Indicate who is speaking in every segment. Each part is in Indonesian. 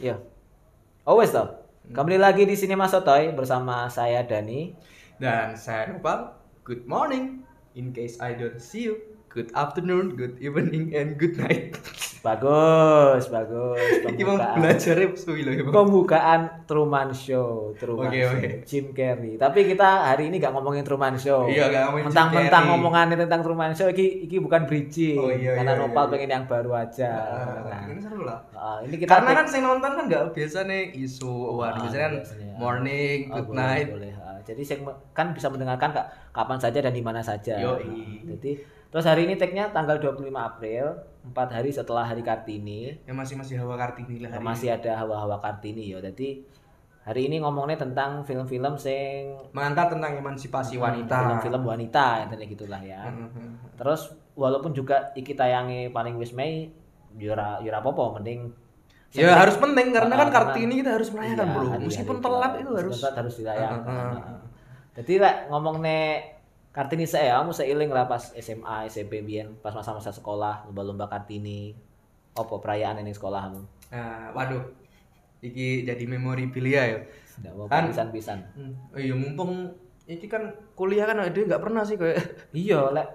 Speaker 1: Iya. Oh wes toh. Kembali lagi di Sinema Sotoy bersama saya Dani.
Speaker 2: Dan saya Nopal, good morning. In case I don't see you, good afternoon, good evening, and good night.
Speaker 1: Bagus, bagus.
Speaker 2: Ini mau
Speaker 1: Pembukaan.
Speaker 2: belajar ya, Bismillah. ya, Bang.
Speaker 1: Pembukaan Truman Show, Truman
Speaker 2: Oke,
Speaker 1: Show,
Speaker 2: oke.
Speaker 1: Jim Carrey. Tapi kita hari ini nggak ngomongin Truman Show.
Speaker 2: Iya, nggak ngomongin Jim
Speaker 1: Mentang-mentang
Speaker 2: Carrey.
Speaker 1: ngomongannya tentang Truman Show, iki iki bukan bridging.
Speaker 2: Oh, iya,
Speaker 1: karena
Speaker 2: iya,
Speaker 1: Nopal
Speaker 2: iya.
Speaker 1: pengen yang baru aja.
Speaker 2: Nah,
Speaker 1: Nah,
Speaker 2: Ini seru lah.
Speaker 1: ah, ini kita
Speaker 2: Karena kan saya nonton kan nggak biasa nih isu award,
Speaker 1: Ah,
Speaker 2: biasanya kan
Speaker 1: biasanya.
Speaker 2: morning,
Speaker 1: Oh,
Speaker 2: good
Speaker 1: boleh,
Speaker 2: night.
Speaker 1: boleh. Ah, Jadi sing- kan bisa mendengarkan Kak, kapan saja dan di mana saja.
Speaker 2: Yoi.
Speaker 1: Ah, Jadi terus hari ini tag-nya tanggal 25 April, 4 hari setelah hari Kartini.
Speaker 2: Ya masih masih hawa kartini lah Iya, hari ini.
Speaker 1: masih ada hawa-hawa Kartini ya. Jadi hari ini ngomongnya tentang film-film sing
Speaker 2: Mantap tentang emansipasi wanita.
Speaker 1: Hmm, Film-film ya. wanita intinya gitulah ya.
Speaker 2: Mhm.
Speaker 1: Terus walaupun juga iki tayangi paling wis Mei yura yura popo mending
Speaker 2: Ya harus penting karena
Speaker 1: Ah,
Speaker 2: kan
Speaker 1: karena-
Speaker 2: kartini kita harus
Speaker 1: Iya,
Speaker 2: merayakan bro.
Speaker 1: hari-hari
Speaker 2: Meskipun
Speaker 1: itu.
Speaker 2: telat itu harus.
Speaker 1: Meskipun telat harus dilayang.
Speaker 2: Heeh.
Speaker 1: Jadi lek ngomong Kartini saya, kamu seiling lah pas SMA, SMP biyen, pas masa-masa sekolah, lomba-lomba Kartini. Apa perayaan ini sekolahmu?
Speaker 2: Nah, waduh. Iki jadi memorabilia ya.
Speaker 1: Enggak mau
Speaker 2: Kan-
Speaker 1: pisan-pisan.
Speaker 2: Hmm, iya mumpung iki kan kuliah kan dia nggak pernah sih kayak
Speaker 1: Iya, lek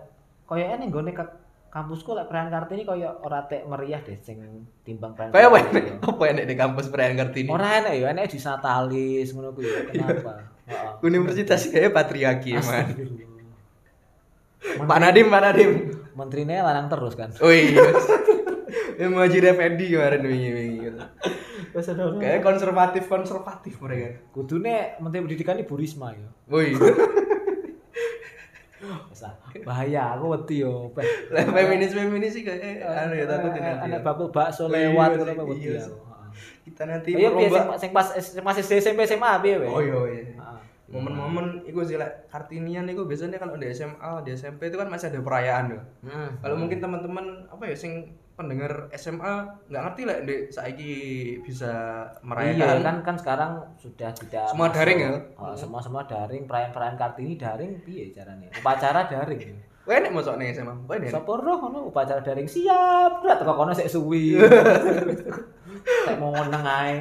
Speaker 1: koyoke ning nggone ke kampusku lek perayaan Kartini koyo ora tek meriah deh sing timbang perayaan.
Speaker 2: kayak apa
Speaker 1: Kartini.
Speaker 2: enek apa enek di kampus perayaan kartini
Speaker 1: Ora enak ya, enek di Natalis ngono kuwi. Kenapa? Heeh.
Speaker 2: universitas kayak patriarki man
Speaker 1: Astagfirullah.
Speaker 2: Pak Nadim Pak Nadim
Speaker 1: Menterinya larang terus kan.
Speaker 2: oh iya ya mau jadi Effendi kemarin wingi wingi gitu kayak konservatif konservatif mereka Oh iya.
Speaker 1: Kudune Menteri Pendidikan ini Bu Risma ya.
Speaker 2: woi
Speaker 1: Masa, bahaya, aku wedi yo. Pe-
Speaker 2: lah feminis feminis sih kayak eh, anu ya takut ini
Speaker 1: Anak bakul bakso
Speaker 2: Iya,
Speaker 1: lewat
Speaker 2: iya,
Speaker 1: ngono pe wedi
Speaker 2: iya.
Speaker 1: aku.
Speaker 2: kita nanti
Speaker 1: Iya, piye sing
Speaker 2: merubah
Speaker 1: sing pas sing pas SD, SMP SMA piye we?
Speaker 2: oh iya iya
Speaker 1: Heeh.
Speaker 2: momen-momen itu sih lah kartinian itu biasanya kalau di SMA di SMP itu kan masih ada perayaan loh
Speaker 1: Heeh.
Speaker 2: Kalau mungkin teman-teman apa ya sing pendengar SMA nggak ngerti lah Dek saiki bisa
Speaker 1: Iya
Speaker 2: merayakan.
Speaker 1: kan kan sekarang sudah tidak
Speaker 2: Semua daring ya? Hmm.
Speaker 1: Oh, semua semua daring perayaan-perayaan Kartini daring piye caranya upacara daring
Speaker 2: Kowe nek masuk nih SMA, kowe nek.
Speaker 1: Sopo roh ngono upacara daring siap berat teko kono sik suwi Sik mau neng ae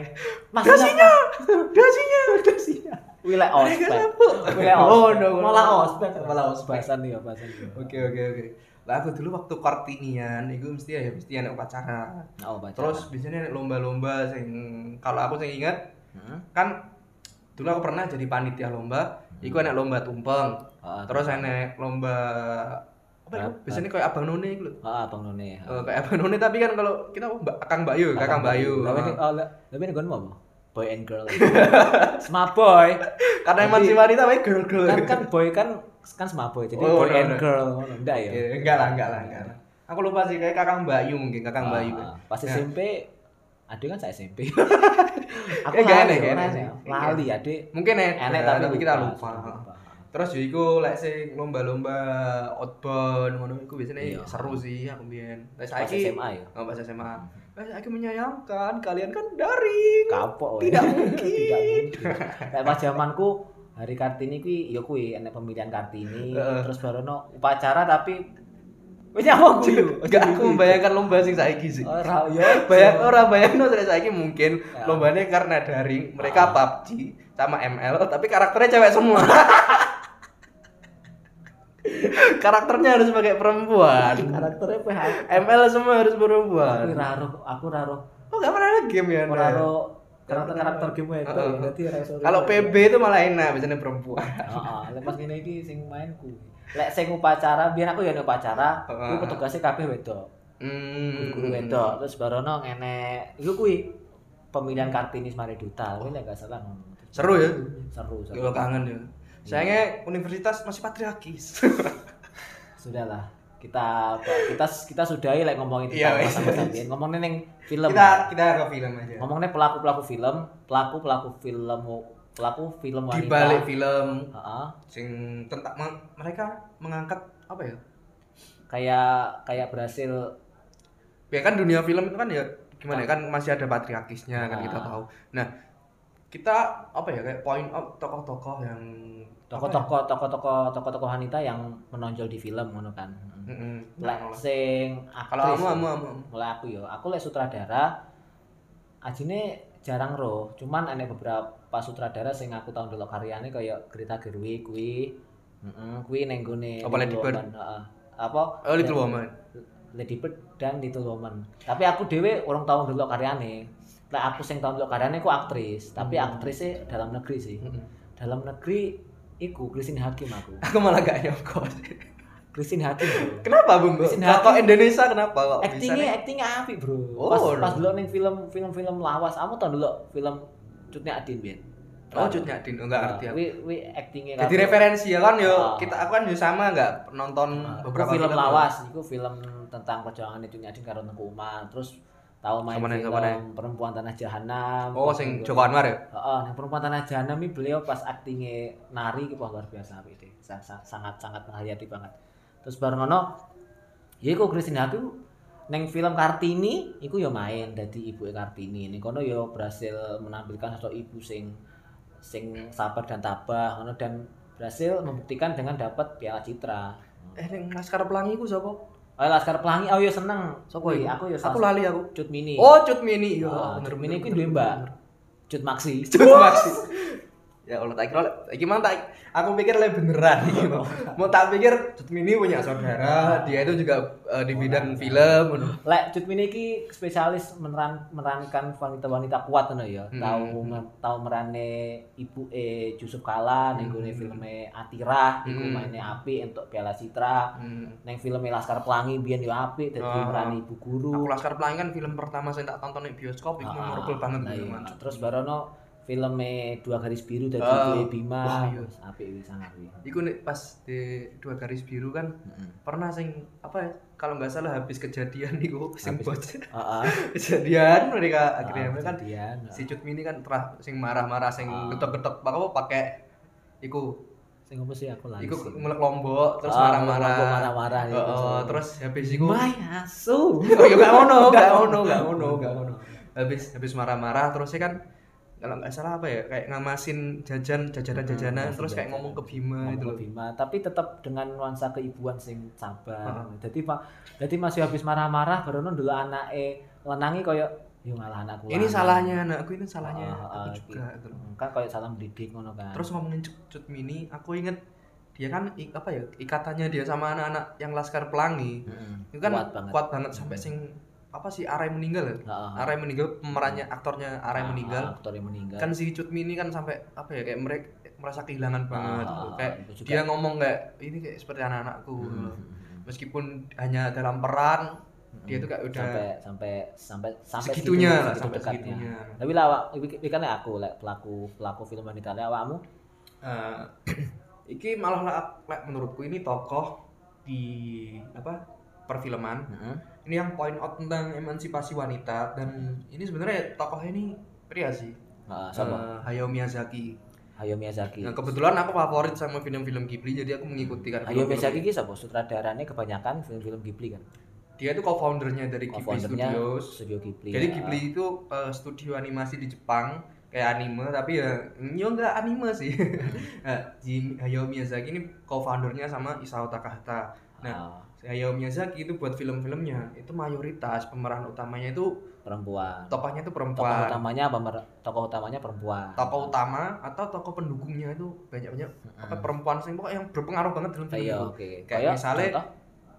Speaker 1: Mas
Speaker 2: Dasinya, dasinya, dasinya.
Speaker 1: Wilayah
Speaker 2: Mereka
Speaker 1: ospek
Speaker 2: siapa?
Speaker 1: Wilayah
Speaker 2: Oh,
Speaker 1: ospek
Speaker 2: no, no.
Speaker 1: malah ospek
Speaker 2: Malah ospek.
Speaker 1: bahasan ya bahasan ya
Speaker 2: Oke oke oke. Lah aku dulu waktu kartinian itu mesti ya mesti ada upacara.
Speaker 1: oh baca
Speaker 2: Terus biasanya nek lomba-lomba sing kalau aku sing ingat
Speaker 1: Heeh.
Speaker 2: kan dulu aku pernah jadi panitia lomba, iku enak lomba tumpeng.
Speaker 1: Ah,
Speaker 2: Terus enak lomba apa ya?
Speaker 1: Apa?
Speaker 2: Biasanya kayak abang none iku lho.
Speaker 1: ah Bang None
Speaker 2: Eh, kayak Abang None tapi kan kalau kita Mbak Kakang Bayu, Kakang Bayu. Ah.
Speaker 1: tapi
Speaker 2: kan
Speaker 1: ini
Speaker 2: Heeh.
Speaker 1: oh, le- tapi ini gue mau apa? boy and girl smart boy
Speaker 2: Karena
Speaker 1: Jadi-
Speaker 2: emang si wanita baik girl girl.
Speaker 1: kan kan boy kan kan sama boy jadi
Speaker 2: Oh,
Speaker 1: boy
Speaker 2: udah,
Speaker 1: and
Speaker 2: udah.
Speaker 1: girl ngono enggak ya
Speaker 2: Ya, enggak lah, enggak lah, enggak lah. Aku lupa sih kayak Kakang Bayu mungkin, Kakang Bayu.
Speaker 1: Ah, pas
Speaker 2: Nah.
Speaker 1: SMP adik kan saya SMP aku
Speaker 2: Eh, nggak
Speaker 1: lali
Speaker 2: enak, nggak
Speaker 1: orang
Speaker 2: enak.
Speaker 1: enak. lali adik
Speaker 2: Mungkin enak,
Speaker 1: enak tapi,
Speaker 2: kita lupa.
Speaker 1: sudah
Speaker 2: Terus ya iku lek sing lomba-lomba outbound ngono iku biasanya
Speaker 1: Iya.
Speaker 2: seru sih aku mbiyen. Lah
Speaker 1: pas
Speaker 2: saiki
Speaker 1: SMA ya
Speaker 2: oh, pas SMA. Lah saiki menyayangkan kalian kan daring.
Speaker 1: kapok woy.
Speaker 2: Tidak mungkin.
Speaker 1: tidak mungkin Nah, pas zamanku hari Kartini kuwi ya kuwi enek pemilihan Kartini
Speaker 2: Heeh.
Speaker 1: terus baru no upacara tapi wis
Speaker 2: Oh,
Speaker 1: nyawa kuwi yo.
Speaker 2: Enggak aku membayangkan lomba sing saiki sih.
Speaker 1: ora yo
Speaker 2: Bayang orang bayang no saiki mungkin
Speaker 1: Ya. Ah.
Speaker 2: lombanya karena daring mereka PUBG sama ML tapi karakternya cewek semua. karakternya harus pakai perempuan.
Speaker 1: karakternya PH
Speaker 2: ML semua harus
Speaker 1: aku
Speaker 2: perempuan.
Speaker 1: raro aku raro
Speaker 2: Oh gak pernah ada game ya. Anda?
Speaker 1: raro karakter karakter game itu
Speaker 2: Heeh.
Speaker 1: ya, berarti raro sorry.
Speaker 2: Kalau PB itu malah enak biasanya perempuan.
Speaker 1: heeh lepas ngene iki sing mainku lek sing upacara biar aku ya nek upacara
Speaker 2: Heeh.
Speaker 1: aku petugasnya kabeh wedok guru
Speaker 2: Hmm.
Speaker 1: wedok terus barono ngene iku kuwi pemilihan Kartini Smare Duta kuwi lek gak salah ngono
Speaker 2: Seru ya.
Speaker 1: seru seru Iya.
Speaker 2: Yo kangen ya. Sayangnya universitas masih patriarkis.
Speaker 1: sudahlah kita kita kita sudahi lek ngomongin tentang
Speaker 2: Iya, wes.
Speaker 1: masa-masa biyen ngomongin ning film ya? Oh,
Speaker 2: kita kita ke film aja.
Speaker 1: ngomongnya pelaku pelaku film pelaku pelaku film pelaku film
Speaker 2: Di
Speaker 1: wanita
Speaker 2: balik film
Speaker 1: Heeh.
Speaker 2: sing tentang meng- mereka mengangkat apa ya?
Speaker 1: kayak kayak berhasil
Speaker 2: Ya kan dunia film itu kan ya gimana ya, kan masih ada patriarkisnya kan
Speaker 1: Ah.
Speaker 2: kita tahu. Nah, kita apa ya kayak point out tokoh-tokoh yang ya?
Speaker 1: Tokoh-tokoh tokoh-tokoh tokoh-tokoh wanita yang menonjol di film ngono kan.
Speaker 2: apa ya? Mm-mm.
Speaker 1: Lek
Speaker 2: Kalau-
Speaker 1: sing
Speaker 2: Kalau
Speaker 1: aktris
Speaker 2: kamu
Speaker 1: ya.
Speaker 2: kamu kamu
Speaker 1: mulai aku yo aku lek sutradara ajine jarang roh cuman enek beberapa sutradara sing aku tau ndelok karyane kaya Greta Gerwig kuwi heeh kuwi neng gone
Speaker 2: Apa Lady Bird?
Speaker 1: Heeh. apa
Speaker 2: Oh,
Speaker 1: Iya.
Speaker 2: Little Woman.
Speaker 1: Lady Bird dan Little Woman tapi aku dhewe orang tau ndelok karyane lek aku sing tau ndelok karyane ku aktris tapi
Speaker 2: Hmm.
Speaker 1: aktrisnya dalam negeri sih
Speaker 2: Mm-mm.
Speaker 1: dalam negeri iku Christine Hakim aku
Speaker 2: Aku malah gak nyokot.
Speaker 1: Christine Hakim bro.
Speaker 2: Kenapa, Bung?
Speaker 1: Mesin
Speaker 2: Kalau
Speaker 1: hati.
Speaker 2: Indonesia kenapa kok bisa?
Speaker 1: actingnya
Speaker 2: nih?
Speaker 1: actingnya apik bro
Speaker 2: Oh.
Speaker 1: pas pas dulu neng film film film lawas kamu tau dulu film cutnya adin bian ya.
Speaker 2: Oh, cutnya Din, enggak ngerti aku.
Speaker 1: wi wi actingnya
Speaker 2: Jadi
Speaker 1: kabeh.
Speaker 2: referensi ya kan yo,
Speaker 1: Ah.
Speaker 2: kita aku kan yo sama enggak nonton
Speaker 1: Nah, iku
Speaker 2: beberapa
Speaker 1: film lawas itu film tentang perjuangan cutnya adin karo Tengku Umar terus tahu main
Speaker 2: Sama neng,
Speaker 1: film
Speaker 2: sama neng.
Speaker 1: perempuan tanah jahanam
Speaker 2: Oh, sing Joko Anwar ya?
Speaker 1: Heeh, yang perempuan tanah jahanam ini beliau pas aktingnya nari itu wah, luar biasa apik deh. Sa- sa- sangat sangat menghayati banget. Terus bareng ono ya iku Christine Hakim neng film Kartini iku ya main dadi ibu Kartini. Ning kono ya berhasil menampilkan sosok ibu sing sing sabar dan tabah ngono dan berhasil membuktikan dengan dapat Piala Citra.
Speaker 2: Eh, yang Laskar Pelangi ku sapa?
Speaker 1: Oh, Laskar Pelangi, oh ya seneng.
Speaker 2: Sopo
Speaker 1: Wih,
Speaker 2: iku?
Speaker 1: Aku ya
Speaker 2: Aku
Speaker 1: salah-
Speaker 2: lali aku.
Speaker 1: Cut Mini.
Speaker 2: Oh, Cut Mini. Yo,
Speaker 1: Ah,
Speaker 2: bener,
Speaker 1: Cut Mini
Speaker 2: bener,
Speaker 1: ku
Speaker 2: bener,
Speaker 1: duwe
Speaker 2: bener,
Speaker 1: Mbak.
Speaker 2: bener.
Speaker 1: Cut Maxi.
Speaker 2: Cut Maxi. Ya Allah, tak kira iki mang tak aku pikir le beneran iki. Bang. Mau tak pikir Cut Mini punya saudara, dia itu juga eh, di bidang film. aduh.
Speaker 1: Lek Cut Mini iki spesialis meneran, merankan wanita-wanita kuat ngono ya.
Speaker 2: Hmm.
Speaker 1: Tahu nge- tahu merane ibu e Jusuf Kala ning gone
Speaker 2: Hmm.
Speaker 1: filme Atirah iku
Speaker 2: Hmm.
Speaker 1: maine apik entuk Piala Citra.
Speaker 2: Hmm.
Speaker 1: Neng filme Laskar Pelangi biyen yo apik dadi
Speaker 2: Ah.
Speaker 1: merani ibu guru.
Speaker 2: Aku Laskar Pelangi kan film pertama saya tak tonton di bioskop, itu
Speaker 1: Ah,
Speaker 2: memorable banget
Speaker 1: nah
Speaker 2: gitu,
Speaker 1: iya.
Speaker 2: Mas.
Speaker 1: Terus barono filme Dua Garis Biru dadi
Speaker 2: Ah.
Speaker 1: ibu Bima.
Speaker 2: Wah, iya.
Speaker 1: Wis Apik wis sangat wis.
Speaker 2: Iku nih pas di dua garis biru kan
Speaker 1: Heeh.
Speaker 2: pernah sing apa ya kalau nggak salah habis kejadian niku sing
Speaker 1: Habis-
Speaker 2: bocah
Speaker 1: Heeh.
Speaker 2: kejadian mereka
Speaker 1: Ah,
Speaker 2: akhirnya kan
Speaker 1: kejadian.
Speaker 2: si Cut Mini kan terah sing marah-marah sing
Speaker 1: Ah.
Speaker 2: getok-getok pak apa pakai iku
Speaker 1: Sing opo sih aku lali.
Speaker 2: iku
Speaker 1: sih.
Speaker 2: mulek lombok terus
Speaker 1: Ah,
Speaker 2: marah-marah
Speaker 1: kelompok marah-marah
Speaker 2: Heeh,
Speaker 1: gitu.
Speaker 2: terus habis iku
Speaker 1: Mai asu.
Speaker 2: oh ya nggak ono nggak ono nggak ono nggak ono habis habis marah-marah terus kan kalau nggak salah apa ya kayak ngamasin jajan jajanan jajanan
Speaker 1: Hmm,
Speaker 2: terus kayak
Speaker 1: jajanan.
Speaker 2: ngomong ke Bima
Speaker 1: Ngomong
Speaker 2: Nah,
Speaker 1: ke
Speaker 2: itu loh
Speaker 1: Bima, tapi tetap dengan nuansa keibuan sing sabar.
Speaker 2: Heeh.
Speaker 1: Jadi Pak, jadi masih habis marah-marah baru dulu anake lenangi koyo yo ngalah anakku.
Speaker 2: ini
Speaker 1: lanang."
Speaker 2: salahnya anakku ini salahnya
Speaker 1: Ah, ah,
Speaker 2: aku
Speaker 1: ah,
Speaker 2: juga gitu loh.
Speaker 1: Kan koyo salah mendidik ngono kan.
Speaker 2: terus ngomongin cut, Cut mini aku inget dia kan i- apa ya ikatannya dia sama anak-anak yang laskar pelangi
Speaker 1: Mm-mm.
Speaker 2: itu kan
Speaker 1: kuat banget. Hmm.
Speaker 2: sampai sing apa sih Arai meninggal ya
Speaker 1: Heeh.
Speaker 2: Arai meninggal pemerannya aktornya
Speaker 1: Ah,
Speaker 2: Arai meninggal
Speaker 1: aktor yang meninggal.
Speaker 2: kan si Cut Mini kan sampai apa ya kayak mereka merasa kehilangan banget
Speaker 1: Ah,
Speaker 2: gitu. kayak
Speaker 1: itu juga. Hmm,
Speaker 2: dia ngomong kayak ini kayak seperti anak-anakku
Speaker 1: Mm-mm.
Speaker 2: gitu. meskipun hanya dalam peran dia tuh kayak udah
Speaker 1: sampai sampai sampai sampai segitu-
Speaker 2: segitunya lah
Speaker 1: segitu
Speaker 2: sampai
Speaker 1: dekatnya.
Speaker 2: segitunya
Speaker 1: Tapi lah awak iki- iki kan lek aku lek pelaku pelaku film wanita lek awakmu
Speaker 2: Eh, iki malah lah- lah menurutku ini tokoh di apa perfilman
Speaker 1: heeh.
Speaker 2: ini yang point out tentang emansipasi wanita dan ini sebenarnya tokohnya ini pria sih
Speaker 1: Heeh, sapa?
Speaker 2: Eh, Hayao Miyazaki
Speaker 1: Ah, Hayao Miyazaki.
Speaker 2: Nah, kebetulan aku favorit sama film-film Ghibli, jadi aku mengikuti kan
Speaker 1: Hayao
Speaker 2: film-film
Speaker 1: Miyazaki ki sapa? Sutradaranya kebanyakan film-film Ghibli kan.
Speaker 2: Dia itu co-foundernya dari Ghibli
Speaker 1: Co-foundernya
Speaker 2: Studios.
Speaker 1: Studio Ghibli.
Speaker 2: Jadi
Speaker 1: ya.
Speaker 2: Ghibli itu eh, studio animasi di Jepang kayak anime, tapi ya yo nggak anime sih.
Speaker 1: Hmm.
Speaker 2: nah, Jin- Hayao Miyazaki ini co-foundernya sama Isao Takahata.
Speaker 1: Ah,
Speaker 2: Nah, Hayao Miyazaki itu buat film-filmnya itu mayoritas pemeran utamanya itu
Speaker 1: perempuan.
Speaker 2: tokohnya itu
Speaker 1: Tokoh
Speaker 2: perempuan.
Speaker 1: utamanya pemer- tokoh utamanya perempuan.
Speaker 2: Tokoh utama atau tokoh pendukungnya itu banyak-banyak apa
Speaker 1: Hmm.
Speaker 2: perempuan sing pokoknya yang berpengaruh banget dalam film
Speaker 1: Kayak
Speaker 2: itu.
Speaker 1: Ah, oke.
Speaker 2: Kayak
Speaker 1: Kayak
Speaker 2: misalnya,
Speaker 1: contoh?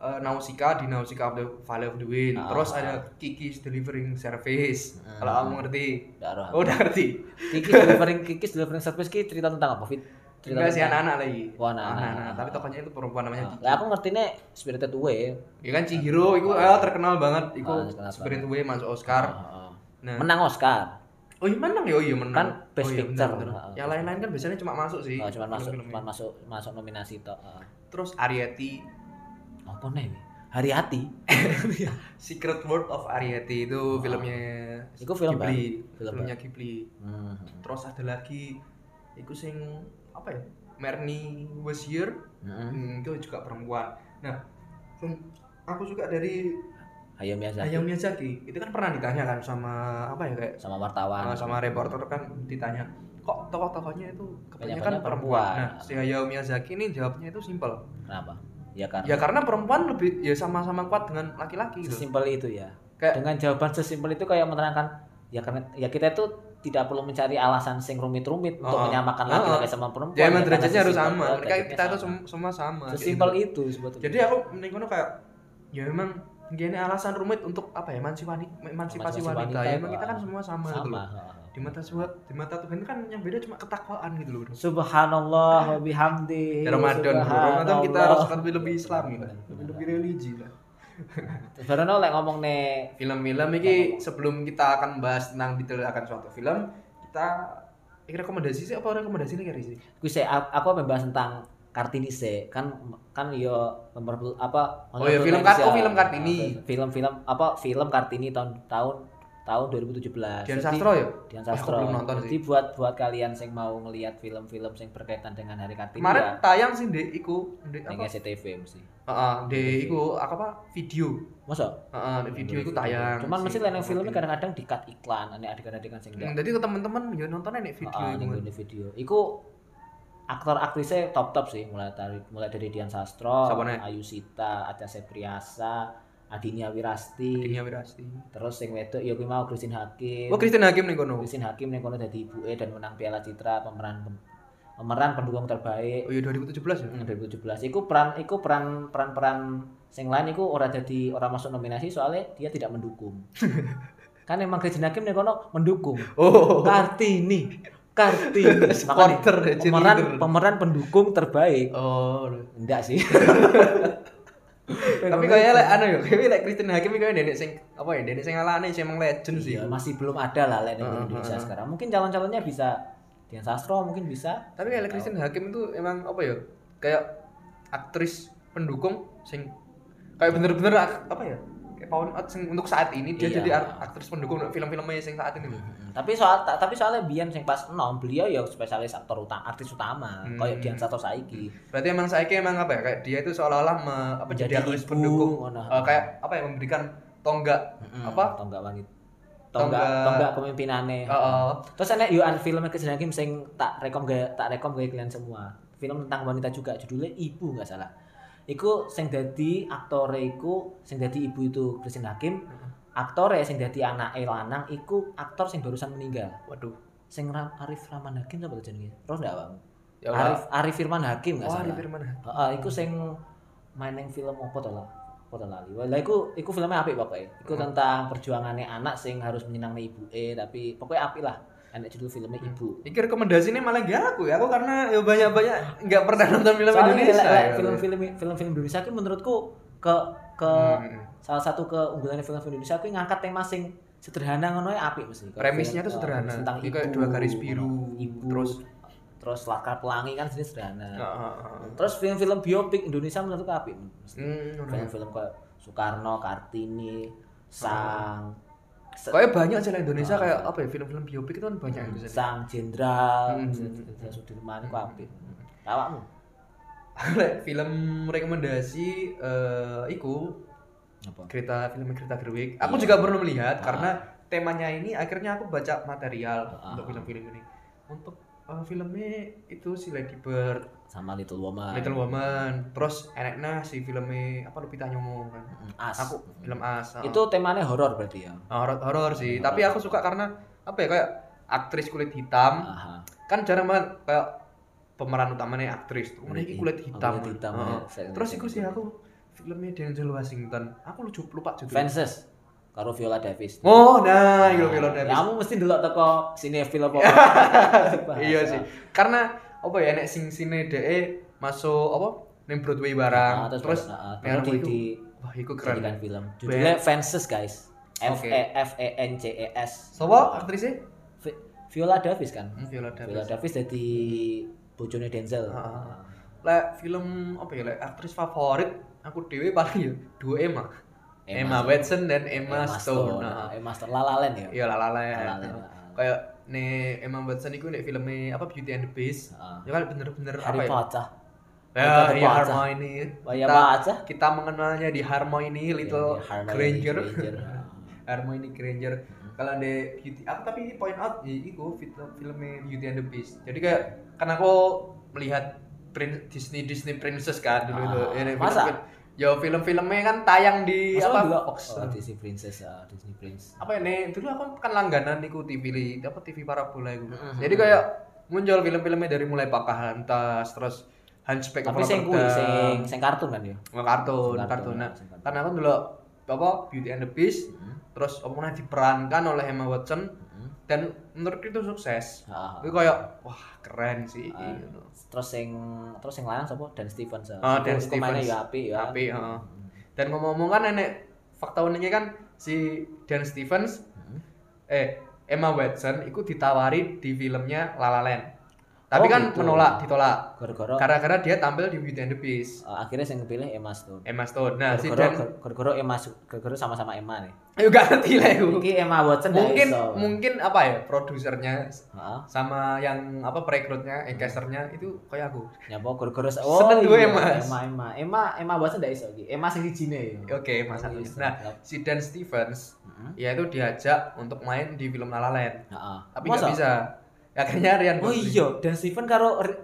Speaker 2: Eh, Nausicaa di Nausicaa of the Valley of the Wind.
Speaker 1: Ah.
Speaker 2: Terus ada Kiki's Delivering Service.
Speaker 1: Hmm.
Speaker 2: Kalau kamu ngerti,
Speaker 1: Nggak roh.
Speaker 2: oh udah ngerti.
Speaker 1: Kikis delivering Kikis delivering service ki cerita tentang apa? Fit? Cerita
Speaker 2: Enggak sih
Speaker 1: tentang-
Speaker 2: anak-anak lagi.
Speaker 1: Oh, anak-anak.
Speaker 2: Tapi tokohnya itu perempuan namanya
Speaker 1: Ah,
Speaker 2: Kiki.
Speaker 1: Lah aku ngertine Spirited Away.
Speaker 2: Ya kan Chihiro itu eh, terkenal banget. Iku
Speaker 1: Ah, terkenal
Speaker 2: Spirit Away masuk Oscar.
Speaker 1: Ah, ah.
Speaker 2: Nah,
Speaker 1: Menang Oscar.
Speaker 2: oh iya menang ya, oh iya menang.
Speaker 1: Kan Best
Speaker 2: oh, iya,
Speaker 1: Picture.
Speaker 2: benar, benar.
Speaker 1: Ah,
Speaker 2: Yang lain-lain kan biasanya cuma masuk sih.
Speaker 1: Oh, cuman masuk
Speaker 2: film-filmnya.
Speaker 1: cuman masuk masuk nominasi tok. Ah.
Speaker 2: Terus Ariety,
Speaker 1: Apa nih? Hati-hati.
Speaker 2: Secret World of Ariety itu
Speaker 1: Ah.
Speaker 2: filmnya
Speaker 1: Iku film
Speaker 2: Ghibli,
Speaker 1: baru. Film
Speaker 2: filmnya Ghibli.
Speaker 1: ya. Hmm.
Speaker 2: Terus ada lagi iku sing apa ya? Merni was here
Speaker 1: Hmm.
Speaker 2: Hmm, itu juga perempuan. Nah, yang aku suka dari
Speaker 1: Hayao Miyazaki
Speaker 2: Hayao Miyazaki itu kan pernah ditanya kan sama apa ya kayak
Speaker 1: Ah, sama wartawan.
Speaker 2: sama- sama reporter kan ditanya kok tokoh-tokohnya itu
Speaker 1: Kebanyakannya
Speaker 2: kebanyakan perempuan.
Speaker 1: perempuan. Nah.
Speaker 2: Nah, si Hayao Miyazaki ini jawabnya itu simpel.
Speaker 1: Kenapa? Ya karena
Speaker 2: Ya karena perempuan lebih ya sama-sama kuat dengan laki-laki gitu.
Speaker 1: sesimpel itu ya.
Speaker 2: Kayak-
Speaker 1: Dengan jawaban sesimpel itu kayak menerangkan ya karena ya kita itu tidak perlu mencari alasan sing rumit-rumit untuk
Speaker 2: Oh, oh.
Speaker 1: menyamakan
Speaker 2: Oh,
Speaker 1: laki-laki sama perempuan.
Speaker 2: Ya
Speaker 1: Ya,
Speaker 2: emang
Speaker 1: karena
Speaker 2: derajatnya harus
Speaker 1: sesimpel,
Speaker 2: sama. Mereka
Speaker 1: derajatnya
Speaker 2: kita itu
Speaker 1: sama.
Speaker 2: sem- semua sama. kayak
Speaker 1: sesimpel
Speaker 2: gitu.
Speaker 1: itu sebetulnya.
Speaker 2: Jadi aku mending kono kayak ya emang gini alasan rumit untuk apa ya emansipasi emansipasi
Speaker 1: Emansipasi
Speaker 2: wanita.
Speaker 1: wanita
Speaker 2: Ya
Speaker 1: itu,
Speaker 2: emang kita kan
Speaker 1: ah.
Speaker 2: semua sama, gitu
Speaker 1: sama.
Speaker 2: loh. Di mata Tuhan, di mata Tuhan kan yang beda cuma ketakwaan gitu loh. Bro.
Speaker 1: Subhanallah wa bihamdi.
Speaker 2: Ya Ramadan, bro. Ramadan kita
Speaker 1: subhanallah.
Speaker 2: harus lebih lebih gitu. Islami
Speaker 1: Benar,
Speaker 2: lah, lebih
Speaker 1: benar.
Speaker 2: lebih religi lah.
Speaker 1: Terus baru nolak ngomong nih
Speaker 2: Film-film ini sebelum kita akan bahas tentang detail akan suatu film, kita ini rekomendasi sih apa rekomendasi ini sih?
Speaker 1: aku sih aku membahas tentang Kartini sih kan kan yo nomor apa
Speaker 2: Oh, ya, film Kart-
Speaker 1: Kartini
Speaker 2: oh, film Kartini.
Speaker 1: film-film apa film Kartini tahun tahun tahun 2017 Jadi-
Speaker 2: Dian Sastro ya?
Speaker 1: Dian
Speaker 2: Wah, aku
Speaker 1: Sastro
Speaker 2: belum nonton
Speaker 1: jadi buat buat kalian yang mau ngelihat film-film yang berkaitan dengan hari Kartini
Speaker 2: Kemarin tayang sih di iku di
Speaker 1: ya ning
Speaker 2: apa?
Speaker 1: SCTV mesti
Speaker 2: Heeh, di iku apa apa video.
Speaker 1: masa
Speaker 2: Heeh, di video itu tayang.
Speaker 1: cuman mesti lain yang filmnya
Speaker 2: kadang
Speaker 1: kadang-kadang di cut iklan ada adegan-adegan sing ndak-
Speaker 2: Jadi Hmm, ke teman-teman yo nontonnya nih video
Speaker 1: Ah,
Speaker 2: itu.
Speaker 1: ning gone video. Iku aktor aktrisnya top top sih mulai dari mulai dari Dian Sastro,
Speaker 2: Siapa nih?
Speaker 1: Ayu Sita, Acha Septriasa, Adinia Wirasti,
Speaker 2: Dingnya Wirasti.
Speaker 1: terus yang wedok ya kuwi mau Christine Hakim.
Speaker 2: Oh, Kristen Hakim nih kono.
Speaker 1: Christine Hakim ning kono dadi ibuke dan menang Piala Citra pemeran pemeran pendukung terbaik
Speaker 2: Oh iya 2017 ya.
Speaker 1: Hmm, 2017. Iku peran iku peran peran-peran sing lain iku ora jadi ora masuk nominasi soalnya dia tidak mendukung. kan emang Christine Hakim ning kono mendukung.
Speaker 2: Oh.
Speaker 1: Kartini Kartini Makanya,
Speaker 2: Supporter ya,
Speaker 1: pemeran
Speaker 2: cheerleader.
Speaker 1: pemeran pendukung terbaik
Speaker 2: Oh. lho.
Speaker 1: enggak sih
Speaker 2: Tapi kayaknya lek anu ya, kayaknya lek Kristen Hakim iki kayaknya nenek sing apa ya, nenek sing alane sing emang legend sih.
Speaker 1: Iya, masih belum ada lah lain di
Speaker 2: Heeh,
Speaker 1: Indonesia
Speaker 2: heeh.
Speaker 1: sekarang mungkin calon-calonnya bisa Dian Sastro mungkin bisa
Speaker 2: Tapi kayak
Speaker 1: Nggak
Speaker 2: Kristen Hakim itu emang apa ya? Kayak aktris pendukung sing kayak bener-bener ak- apa ya? Kayak pound out sing untuk saat ini dia
Speaker 1: Iya.
Speaker 2: jadi ar- aktris pendukung untuk film-filmnya sing saat ini.
Speaker 1: tahu. Mm-mm. tapi soal ta- tapi soalnya Bian yang pas enom beliau ya spesialis aktor utama artis utama
Speaker 2: Hmm.
Speaker 1: kayak Dian Sastro saiki
Speaker 2: Berarti emang saya emang apa ya? Kayak dia itu seolah-olah me- apa
Speaker 1: Menjadi
Speaker 2: jadi aktris
Speaker 1: ibu,
Speaker 2: pendukung
Speaker 1: ngono. Hmm,
Speaker 2: Eh, kayak apa ya memberikan tonggak
Speaker 1: Mm-mm.
Speaker 2: apa?
Speaker 1: tonggak wanita
Speaker 2: Tonggak-
Speaker 1: tonggak tonggak pemimpinannya
Speaker 2: eh, eh,
Speaker 1: Terus enek yo an film Christian Hakim sing tak rekom gaya, tak rekom gaya kalian semua. Film tentang wanita juga judulnya Ibu nggak salah. Iku sing dadi aktore iku sing dadi ibu itu Christian Hakim. Aktore sing dadi anake lanang iku aktor sing barusan meninggal.
Speaker 2: waduh.
Speaker 1: Sing Ra- Arif Rahman Hakim sapa jenenge? Roh ndak awakmu?
Speaker 2: Ya Allah.
Speaker 1: Arif Arif Firman Hakim nggak
Speaker 2: Wah,
Speaker 1: salah.
Speaker 2: di Firman.
Speaker 1: Heeh, iku sing main yang film apa to lah? Apa to lali? Wah, lah iku iku filmnya apik pokoke. Iku
Speaker 2: Hmm.
Speaker 1: tentang perjuangannya anak sing harus menyenangi ibuke tapi pokoknya apik lah. Enak judul filmnya
Speaker 2: Hmm.
Speaker 1: Ibu.
Speaker 2: Iki rekomendasinya malah gak aku ya, aku karena ya banyak-banyak nggak pernah nonton film
Speaker 1: Soalnya
Speaker 2: Indonesia.
Speaker 1: lek- lek
Speaker 2: ya.
Speaker 1: film-film film-film Indonesia itu menurutku ke ke
Speaker 2: Hmm.
Speaker 1: salah satu keunggulan film-film Indonesia aku ngangkat tema sing sederhana ngono ya apik mesti. Kayak
Speaker 2: Premisnya
Speaker 1: film,
Speaker 2: tuh sederhana.
Speaker 1: eh, tentang
Speaker 2: Ini
Speaker 1: ibu,
Speaker 2: kayak dua garis biru,
Speaker 1: ibu,
Speaker 2: terus-
Speaker 1: terus terus Laskar Pelangi kan sini sederhana.
Speaker 2: Ah, ah, ah.
Speaker 1: Terus film-film biopik Indonesia menurutku apik mesti.
Speaker 2: Hmm, udah.
Speaker 1: Film-film kayak Soekarno, Kartini, Sang,
Speaker 2: Hmm.
Speaker 1: Se-
Speaker 2: Kayaknya banyak sih lah Indonesia
Speaker 1: Ah.
Speaker 2: kayak apa ya film-film biopik itu kan banyak yang bisa.
Speaker 1: Sang Jenderal,
Speaker 2: Hmm.
Speaker 1: Jenderal Sudirman iku apik. Awakmu?
Speaker 2: Lek film rekomendasi eh iku
Speaker 1: Apa?
Speaker 2: cerita film cerita Gerwig. Aku
Speaker 1: Iya.
Speaker 2: juga belum melihat
Speaker 1: Ah.
Speaker 2: karena temanya ini akhirnya aku baca material
Speaker 1: Ah.
Speaker 2: untuk film-film ini. Untuk eh, filmnya itu si Lady Bird,
Speaker 1: Sama Little Woman.
Speaker 2: Little Woman, terus enaknya si filmnya apa Lupita Nyong'o kan.
Speaker 1: Mm, As.
Speaker 2: Aku film As. ah.
Speaker 1: Itu temanya horor berarti ya.
Speaker 2: Ah, horor horor sih,
Speaker 1: Horor.
Speaker 2: tapi aku suka karena apa ya kayak aktris kulit hitam
Speaker 1: Aha.
Speaker 2: kan jarang banget kayak pemeran utamanya aktris tuh ini kulit hitam,
Speaker 1: iya. Kulit hitam.
Speaker 2: Heeh.
Speaker 1: ya.
Speaker 2: terus itu sih aku filmnya Denzel Washington aku lucu lupa judulnya
Speaker 1: Fences karo Viola Davis.
Speaker 2: oh nah itu Viola
Speaker 1: Nah,
Speaker 2: Davis
Speaker 1: Kamu mesti delok teko sini film apa.
Speaker 2: iya sih karena apa ya nek sing sini de masuk apa neng Broadway barang
Speaker 1: Nah,
Speaker 2: terus
Speaker 1: terus nah, baru
Speaker 2: yang
Speaker 1: di,
Speaker 2: itu-
Speaker 1: di
Speaker 2: wah itu keren
Speaker 1: jadikan film. Judulnya Fences guys. F
Speaker 2: Oke.
Speaker 1: E F E N C E S.
Speaker 2: Sopo aktrisnya
Speaker 1: Vi- Viola Davis kan.
Speaker 2: Hmm, Viola Davis
Speaker 1: Viola Davis jadi bojone Denzel.
Speaker 2: Ah, ah, lek film apa ya lek aktris favorit aku dewe paling ya dua Emma Emma, Watson dan Emma, Stone. Nah,
Speaker 1: Emma Stone La La Land ya.
Speaker 2: iya lah lah lah.
Speaker 1: La La Land. ah.
Speaker 2: Kayak nih Emma Watson itu nih filmnya apa Beauty and the Beast.
Speaker 1: Ah.
Speaker 2: Ya kan bener-bener apa
Speaker 1: Harry
Speaker 2: ya?
Speaker 1: Potter.
Speaker 2: Ya,
Speaker 1: tetep
Speaker 2: iya,
Speaker 1: aja.
Speaker 2: Harmony.
Speaker 1: Waya
Speaker 2: Kita-
Speaker 1: aja.
Speaker 2: Kita mengenalnya di Harmony Little
Speaker 1: Ya, Harmony
Speaker 2: Granger.
Speaker 1: Granger.
Speaker 2: Harmony Granger. Kalau ada beauty aku tapi point out ya iku film filmnya Beauty and the Beast. Jadi kayak karena aku melihat prin- Disney Disney Princess kan
Speaker 1: Ah,
Speaker 2: dulu itu. Ya, film-
Speaker 1: masa?
Speaker 2: film- Ya film-filmnya kan tayang di
Speaker 1: Masa
Speaker 2: apa?
Speaker 1: dulu
Speaker 2: Fox.
Speaker 1: oh, Disney Princess, ah, Disney Prince.
Speaker 2: apa ya nih? Dulu aku kan langganan niku TV li, apa TV parabola iku.
Speaker 1: Mhm.
Speaker 2: Jadi kayak muncul film-filmnya dari mulai Pocahontas terus Hunchback of
Speaker 1: Tapi sing kuwi
Speaker 2: Notre
Speaker 1: sing
Speaker 2: Dame.
Speaker 1: sing kartun kan ya.
Speaker 2: Oh, kartun, kartun. Nah,
Speaker 1: Sing kartun.
Speaker 2: karena aku dulu apa Beauty and the Beast
Speaker 1: Hmm,
Speaker 2: terus apa namanya diperankan oleh Emma Watson
Speaker 1: hmm.
Speaker 2: dan menurutku itu sukses
Speaker 1: Ah,
Speaker 2: itu kayak wah keren sih
Speaker 1: Ah.
Speaker 2: gitu.
Speaker 1: terus sing terus sing lanang sapa Dan Stevens.
Speaker 2: Ah, Dan
Speaker 1: Kemana
Speaker 2: Stevens.
Speaker 1: ya apik ya.
Speaker 2: Apik, heeh. dan ngomong-ngomong kan nenek fakta uniknya kan si Dan Stevens
Speaker 1: Hmm.
Speaker 2: eh Emma Watson itu ditawari di filmnya La La Land tapi
Speaker 1: Oh,
Speaker 2: kan
Speaker 1: gitu.
Speaker 2: menolak ditolak
Speaker 1: Gara-gara
Speaker 2: gara-gara dia tampil di Beauty and the Beast
Speaker 1: eh, akhirnya sing kepilih Emma Stone.
Speaker 2: Emma Stone nah si
Speaker 1: Gara-gara
Speaker 2: Dan
Speaker 1: gara-gara Emma gara-gara sama-sama Emma nih.
Speaker 2: ayo gak ngerti lah itu
Speaker 1: Iki Emma Watson nggak
Speaker 2: mungkin
Speaker 1: iso. Ah,
Speaker 2: mungkin apa ya produsernya
Speaker 1: Heeh.
Speaker 2: sama yang apa perekrutnya, eh, casternya itu kayak aku.
Speaker 1: Nyapa gara-gara
Speaker 2: Seneng gue,
Speaker 1: iya,
Speaker 2: Mas.
Speaker 1: Emma Emma. Emma Emma Watson ndak iso iki. Emma sing sijine ya.
Speaker 2: Oke, Mas Agus. Nah, Hmm. si Dan Stevens
Speaker 1: Heeh.
Speaker 2: yaitu Ya, diajak untuk main di film La La Land
Speaker 1: Heeh.
Speaker 2: tapi nggak bisa akhirnya Ryan
Speaker 1: Oh
Speaker 2: Gosling.
Speaker 1: iya, Dan Steven karo R-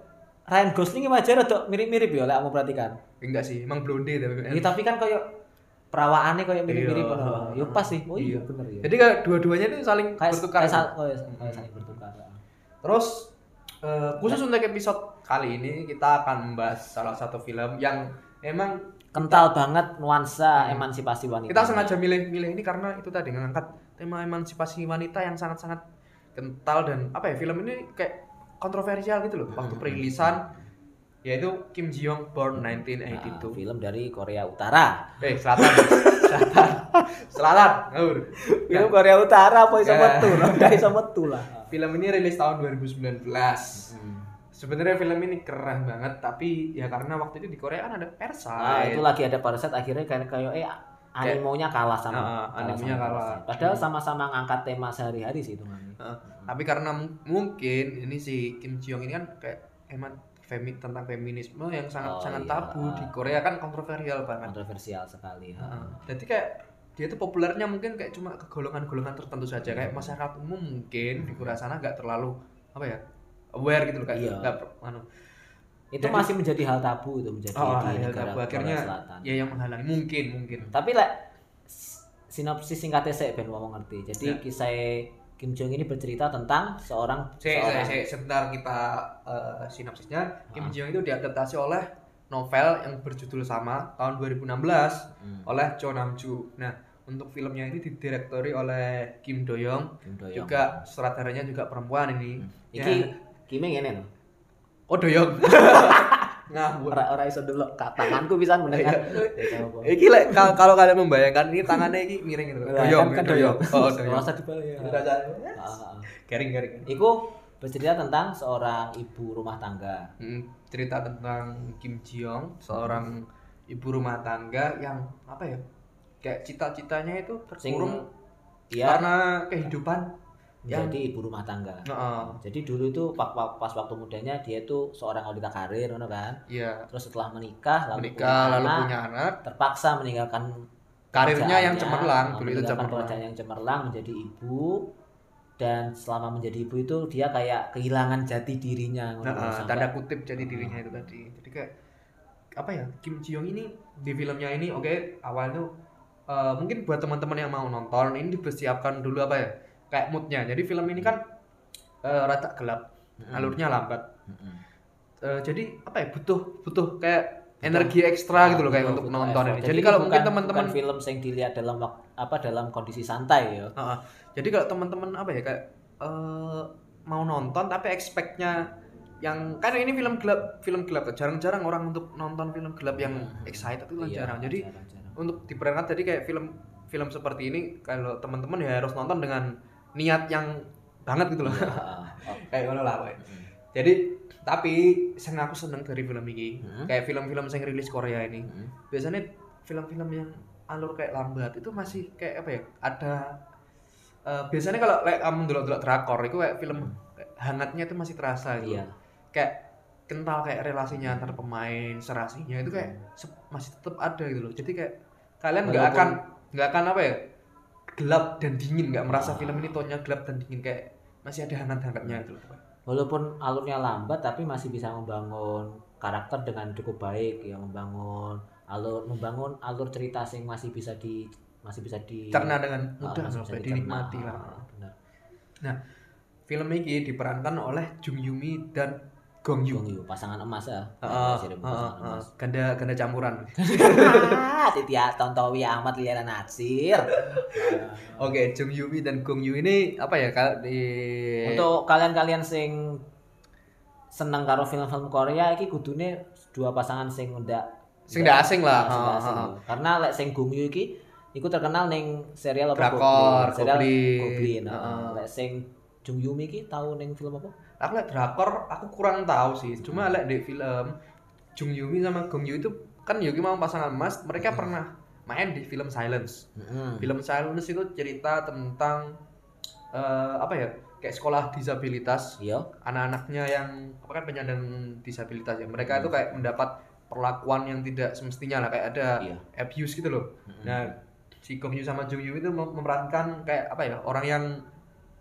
Speaker 1: Ryan Gosling emang aja rada mirip-mirip ya lek kamu perhatikan.
Speaker 2: enggak sih emang blonde tapi
Speaker 1: Ya, tapi kan koyo perawaannya koyo mirip-mirip
Speaker 2: Iya.
Speaker 1: ngono. Ya pas sih. Oh iya
Speaker 2: Iya.
Speaker 1: bener ya.
Speaker 2: jadi kayak dua-duanya itu saling
Speaker 1: Kayak
Speaker 2: bertukar
Speaker 1: kayak sal- koyo kayak
Speaker 2: Mm.
Speaker 1: saling bertukar.
Speaker 2: terus eh, khusus
Speaker 1: Nah.
Speaker 2: untuk episode kali ini kita akan membahas salah satu film yang emang
Speaker 1: Kental banget nuansa
Speaker 2: Hmm.
Speaker 1: emansipasi wanita.
Speaker 2: kita sengaja milih-milih ini karena itu tadi mengangkat tema emansipasi wanita yang sangat-sangat kental dan apa ya film ini kayak kontroversial gitu loh
Speaker 1: Hmm,
Speaker 2: waktu perilisan yaitu Kim Ji Young Born
Speaker 1: Nah,
Speaker 2: 1982
Speaker 1: film dari Korea Utara.
Speaker 2: Eh, selatan. selatan. Selatan. Ngawur.
Speaker 1: Film Korea Utara apa iso
Speaker 2: Ya.
Speaker 1: metu? Ora iso metu lah.
Speaker 2: Film ini rilis tahun 2019. Hmm. Sebenarnya film ini keren banget, tapi ya karena waktu itu di Korea kan ada
Speaker 1: Nah,
Speaker 2: Parasite.
Speaker 1: itu lagi ada Parasite akhirnya kayak kayak eh animonya kalah sama
Speaker 2: Heeh, Ah, animenya
Speaker 1: sama
Speaker 2: kalah.
Speaker 1: Parasite. Padahal sama-sama ngangkat tema sehari-hari sih itu Hmm. Mami.
Speaker 2: Heeh. tapi karena mu- mungkin ini si Kim Ji Young ini kan kayak emang femi tentang feminisme yang
Speaker 1: Oh,
Speaker 2: sangat-sangat
Speaker 1: iya.
Speaker 2: tabu di Korea kan kontroversial banget.
Speaker 1: kontroversial sekali. ha.
Speaker 2: Heeh. Jadi kayak dia tuh populernya mungkin kayak cuma ke golongan-golongan tertentu saja kayak masyarakat umum mungkin di Korea sana nggak terlalu apa ya aware gitu loh kayak
Speaker 1: Iya.
Speaker 2: nggak per- anu,
Speaker 1: Itu
Speaker 2: Jadi-
Speaker 1: masih menjadi hal tabu itu menjadi
Speaker 2: Oh,
Speaker 1: di
Speaker 2: hal
Speaker 1: negara
Speaker 2: tabu.
Speaker 1: Korea
Speaker 2: Akhirnya,
Speaker 1: Selatan.
Speaker 2: ya yang menghalangi mungkin mungkin
Speaker 1: Tapi lek s- sinopsis singkatnya saya ben ngomong ngerti. Jadi
Speaker 2: Ya.
Speaker 1: kisah Kim Jong ini bercerita tentang seorang
Speaker 2: saya saya
Speaker 1: seorang
Speaker 2: saya sebentar kita eh, sinopsisnya Kim
Speaker 1: Ah.
Speaker 2: Ji Young itu diadaptasi oleh novel yang berjudul sama tahun 2016
Speaker 1: Hmm,
Speaker 2: oleh Cho Nam Joo nah untuk filmnya ini didirektori oleh Kim Do Young
Speaker 1: Kim Do Yoong.
Speaker 2: juga ya. sutradaranya juga perempuan ini
Speaker 1: iki Kim ngene lho.
Speaker 2: oh Do Young ngawur
Speaker 1: Ora ora iso delok ka- tanganku bisa mendengar.
Speaker 2: Iya.
Speaker 1: Ya,
Speaker 2: Iki lek ka- kalau kalian membayangkan ini tangannya ini miring gitu.
Speaker 1: Lah,
Speaker 2: Doyong,
Speaker 1: kan- kan
Speaker 2: doyong. Oh, doyong. Iya.
Speaker 1: Rasa dibalik ya. ah. Ha, ha, ha.
Speaker 2: Garing garing.
Speaker 1: Iku bercerita tentang seorang ibu rumah tangga.
Speaker 2: Hmm, cerita tentang Kim Ji Young, seorang ibu rumah tangga yang apa ya? Kayak cita-citanya itu
Speaker 1: Sing
Speaker 2: terkurung
Speaker 1: dia
Speaker 2: karena kehidupan. yang- Oh.
Speaker 1: menjadi ibu rumah tangga.
Speaker 2: Heeh.
Speaker 1: Jadi dulu itu pak- pak- pas waktu mudanya dia itu seorang wanita karir, ngono kan.
Speaker 2: Iya,
Speaker 1: Terus setelah menikah, lalu
Speaker 2: menikah
Speaker 1: punya
Speaker 2: lalu
Speaker 1: anak,
Speaker 2: punya anak,
Speaker 1: terpaksa meninggalkan
Speaker 2: karirnya yang
Speaker 1: pekerjaannya,
Speaker 2: cemerlang, dulu itu
Speaker 1: meninggalkan
Speaker 2: cemerlang.
Speaker 1: pekerjaan yang cemerlang menjadi ibu dan selama menjadi ibu itu dia kayak kehilangan jati dirinya. ngono
Speaker 2: Nah,
Speaker 1: kan,
Speaker 2: eh,
Speaker 1: sampai-
Speaker 2: tanda kutip jadi
Speaker 1: Heeh.
Speaker 2: dirinya itu tadi. Jadi kayak apa ya? Kim Ji Young ini di filmnya ini oke awalnya eh, mungkin buat teman-teman yang mau nonton ini dipersiapkan dulu apa ya? Kayak moodnya. Jadi film ini kan eh, rata gelap,
Speaker 1: Mm-mm,
Speaker 2: alurnya lambat.
Speaker 1: mm-mm.
Speaker 2: Eh, jadi apa ya? Butuh butuh kayak energi ekstra gitu loh kayak
Speaker 1: Betul,
Speaker 2: untuk
Speaker 1: betul,
Speaker 2: nonton
Speaker 1: Ah, effort.
Speaker 2: ini. Jadi, kalau
Speaker 1: bukan-
Speaker 2: mungkin teman-teman
Speaker 1: bukan film yang dilihat dalam wak- apa dalam kondisi santai ya.
Speaker 2: jadi kalau teman-teman apa ya kayak eh, mau nonton tapi expect-nya yang kan ini film gelap film gelap jarang-jarang orang untuk nonton film gelap yang
Speaker 1: Mhm.
Speaker 2: excited itu kan
Speaker 1: Iya,
Speaker 2: jarang jadi
Speaker 1: jarang-jarang.
Speaker 2: untuk diperangkat jadi kayak film film seperti ini kalau teman-teman ya harus nonton dengan niat yang banget gitu loh
Speaker 1: Iya, heeh. Oh,
Speaker 2: kayak ngono lah woy.
Speaker 1: mm-mm.
Speaker 2: jadi tapi sing aku seneng dari film ini
Speaker 1: Hmm.
Speaker 2: kayak film-film yang rilis Korea ini
Speaker 1: Mm-mm.
Speaker 2: biasanya film-film yang alur kayak lambat itu masih kayak apa ya ada eh, biasanya kalau like, kamu dulu dulu drakor itu kayak film hangatnya itu masih terasa gitu
Speaker 1: Hmm. Iya.
Speaker 2: kayak kental kayak relasinya antar pemain serasinya itu kayak se- masih tetap ada gitu loh jadi kayak kalian
Speaker 1: Hmm.
Speaker 2: nggak
Speaker 1: Walaupun-
Speaker 2: akan nggak akan apa ya gelap dan dingin nggak merasa
Speaker 1: Ah.
Speaker 2: film ini tonnya gelap dan dingin kayak masih ada hangat-hangatnya gitu loh
Speaker 1: walaupun alurnya lambat tapi masih bisa membangun karakter dengan cukup baik ya membangun alur membangun alur cerita sing masih bisa di masih bisa di ah,
Speaker 2: karena dengan mudah
Speaker 1: masih bisa
Speaker 2: sampai
Speaker 1: dicerna.
Speaker 2: dinikmati lah
Speaker 1: Ah, benar.
Speaker 2: film ini diperankan oleh Jung Yumi dan Gong Yoo
Speaker 1: Gong Yoo, pasangan emas
Speaker 2: Ah,
Speaker 1: ya
Speaker 2: Heeh,
Speaker 1: Seribu
Speaker 2: heeh,
Speaker 1: pasangan
Speaker 2: heeh.
Speaker 1: emas
Speaker 2: ganda ganda campuran
Speaker 1: Ah, titia tontowi amat liana natsir
Speaker 2: oke Jung Yumi dan Gong Yoo ini apa ya kalau di
Speaker 1: Untuk kalian-kalian sing seneng karo film-film Korea iki kudune dua pasangan sing ndak
Speaker 2: Sing ndak asing lah.
Speaker 1: Sing ndak asing.
Speaker 2: Ha, ha,
Speaker 1: Karena lek sing Gong Yoo iki iku terkenal ning serial apa
Speaker 2: drakor
Speaker 1: Goblin. serial
Speaker 2: Goblin.
Speaker 1: Goblin.
Speaker 2: Heeh.
Speaker 1: heeh. Lek sing Jung Yumi iki tau ning film apa?
Speaker 2: aku lihat drakor aku kurang tahu sih cuma
Speaker 1: Hmm.
Speaker 2: lihat di film Jung Yumi sama Gong Yoo itu kan Yuki mau pasangan emas mereka
Speaker 1: Hmm.
Speaker 2: pernah main di film Silence
Speaker 1: Heeh.
Speaker 2: film Silence itu cerita tentang eh, apa ya kayak sekolah disabilitas
Speaker 1: Iya.
Speaker 2: anak-anaknya yang apa kan penyandang disabilitas ya mereka
Speaker 1: Hmm.
Speaker 2: itu kayak mendapat perlakuan yang tidak semestinya lah kayak ada
Speaker 1: Iya.
Speaker 2: abuse gitu loh
Speaker 1: Heeh.
Speaker 2: nah si Gong Yoo sama Jung Yoo itu mem- memerankan kayak apa ya orang yang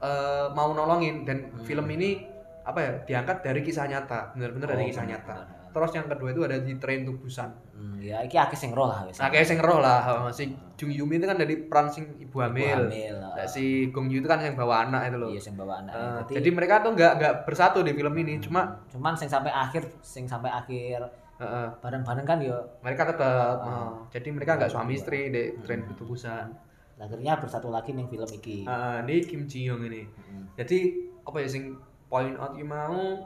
Speaker 2: eh, mau nolongin dan
Speaker 1: Hmm.
Speaker 2: film ini apa ya diangkat dari kisah nyata bener-bener dari
Speaker 1: Oh,
Speaker 2: kisah
Speaker 1: bener,
Speaker 2: nyata
Speaker 1: bener, bener.
Speaker 2: terus yang kedua itu ada di Train to Busan
Speaker 1: Hmm, ya iki akeh sing roh lah wis.
Speaker 2: nah kayak sing roh lah si Jung Yoo itu kan dari peran sing ibu hamil
Speaker 1: Hamil.
Speaker 2: Nah, si Gong Yoo itu kan yang bawa anak itu loh
Speaker 1: Iya sing bawa anak.
Speaker 2: Eh,
Speaker 1: Berarti-
Speaker 2: jadi Hmm. mereka tuh nggak nggak bersatu di film ini cuma
Speaker 1: cuman sing sampai akhir sing sampai akhir
Speaker 2: eh,
Speaker 1: bareng-bareng kan yo
Speaker 2: mereka tetap
Speaker 1: Ah.
Speaker 2: eh, jadi mereka nggak suami
Speaker 1: Iya.
Speaker 2: istri di tren
Speaker 1: Hmm.
Speaker 2: butuh busan
Speaker 1: akhirnya bersatu lagi ning film iki.
Speaker 2: Ah, ini Kim Ji Young ini
Speaker 1: Heeh.
Speaker 2: jadi apa ya sing point out yang mau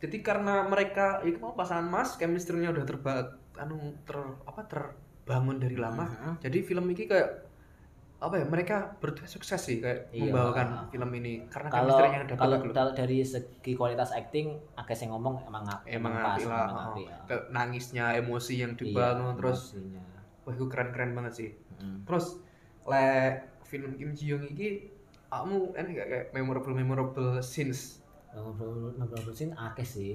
Speaker 2: jadi karena mereka ya itu mau pasangan mas chemistry-nya udah terba anu ter apa terbangun
Speaker 1: Hmm.
Speaker 2: dari lama
Speaker 1: Heeh.
Speaker 2: jadi film ini kayak apa ya mereka berdua sukses sih kayak
Speaker 1: Iya.
Speaker 2: membawakan film ini karena
Speaker 1: kalau
Speaker 2: chemistry-nya udah
Speaker 1: kalau
Speaker 2: bagus loh
Speaker 1: dal- dari segi kualitas acting agak sih ngomong emang ngap-
Speaker 2: Emang
Speaker 1: pas,
Speaker 2: apik lah,
Speaker 1: emang
Speaker 2: oh.
Speaker 1: apik, ya.
Speaker 2: Kayak nangisnya emosi yang dibangun
Speaker 1: Iya,
Speaker 2: terus
Speaker 1: emosinya.
Speaker 2: wah itu keren keren banget sih
Speaker 1: Mm.
Speaker 2: terus lek film Kim Ji Young ini kamu enak gak kayak memorable memorable scenes
Speaker 1: Ngobrol- ngobrol scene akeh sih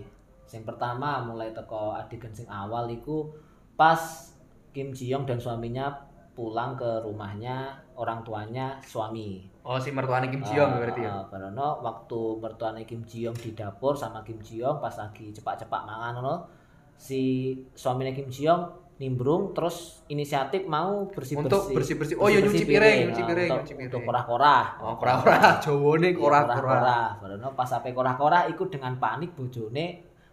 Speaker 1: yang pertama mulai teko adegan sing awal iku pas Kim Ji Young dan suaminya pulang ke rumahnya orang tuanya suami
Speaker 2: oh si mertuanya Kim Ji Young berarti ya
Speaker 1: Ah, Barono waktu mertuane Kim Ji Yong di dapur sama Kim Ji Yong pas lagi cepak-cepak mangan ngono, si suaminya Kim Ji Yong nimbrung terus inisiatif mau bersih-bersih.
Speaker 2: untuk bersih bersih oh ya nyuci piring nyuci piring
Speaker 1: Ah,
Speaker 2: nyuci
Speaker 1: untuk, untuk
Speaker 2: piring
Speaker 1: korah-korah.
Speaker 2: oh kora kora Jawa nih
Speaker 1: Iya,
Speaker 2: kora kora
Speaker 1: korah-korah. Barono pas sampai korah-korah iku dengan panik bojone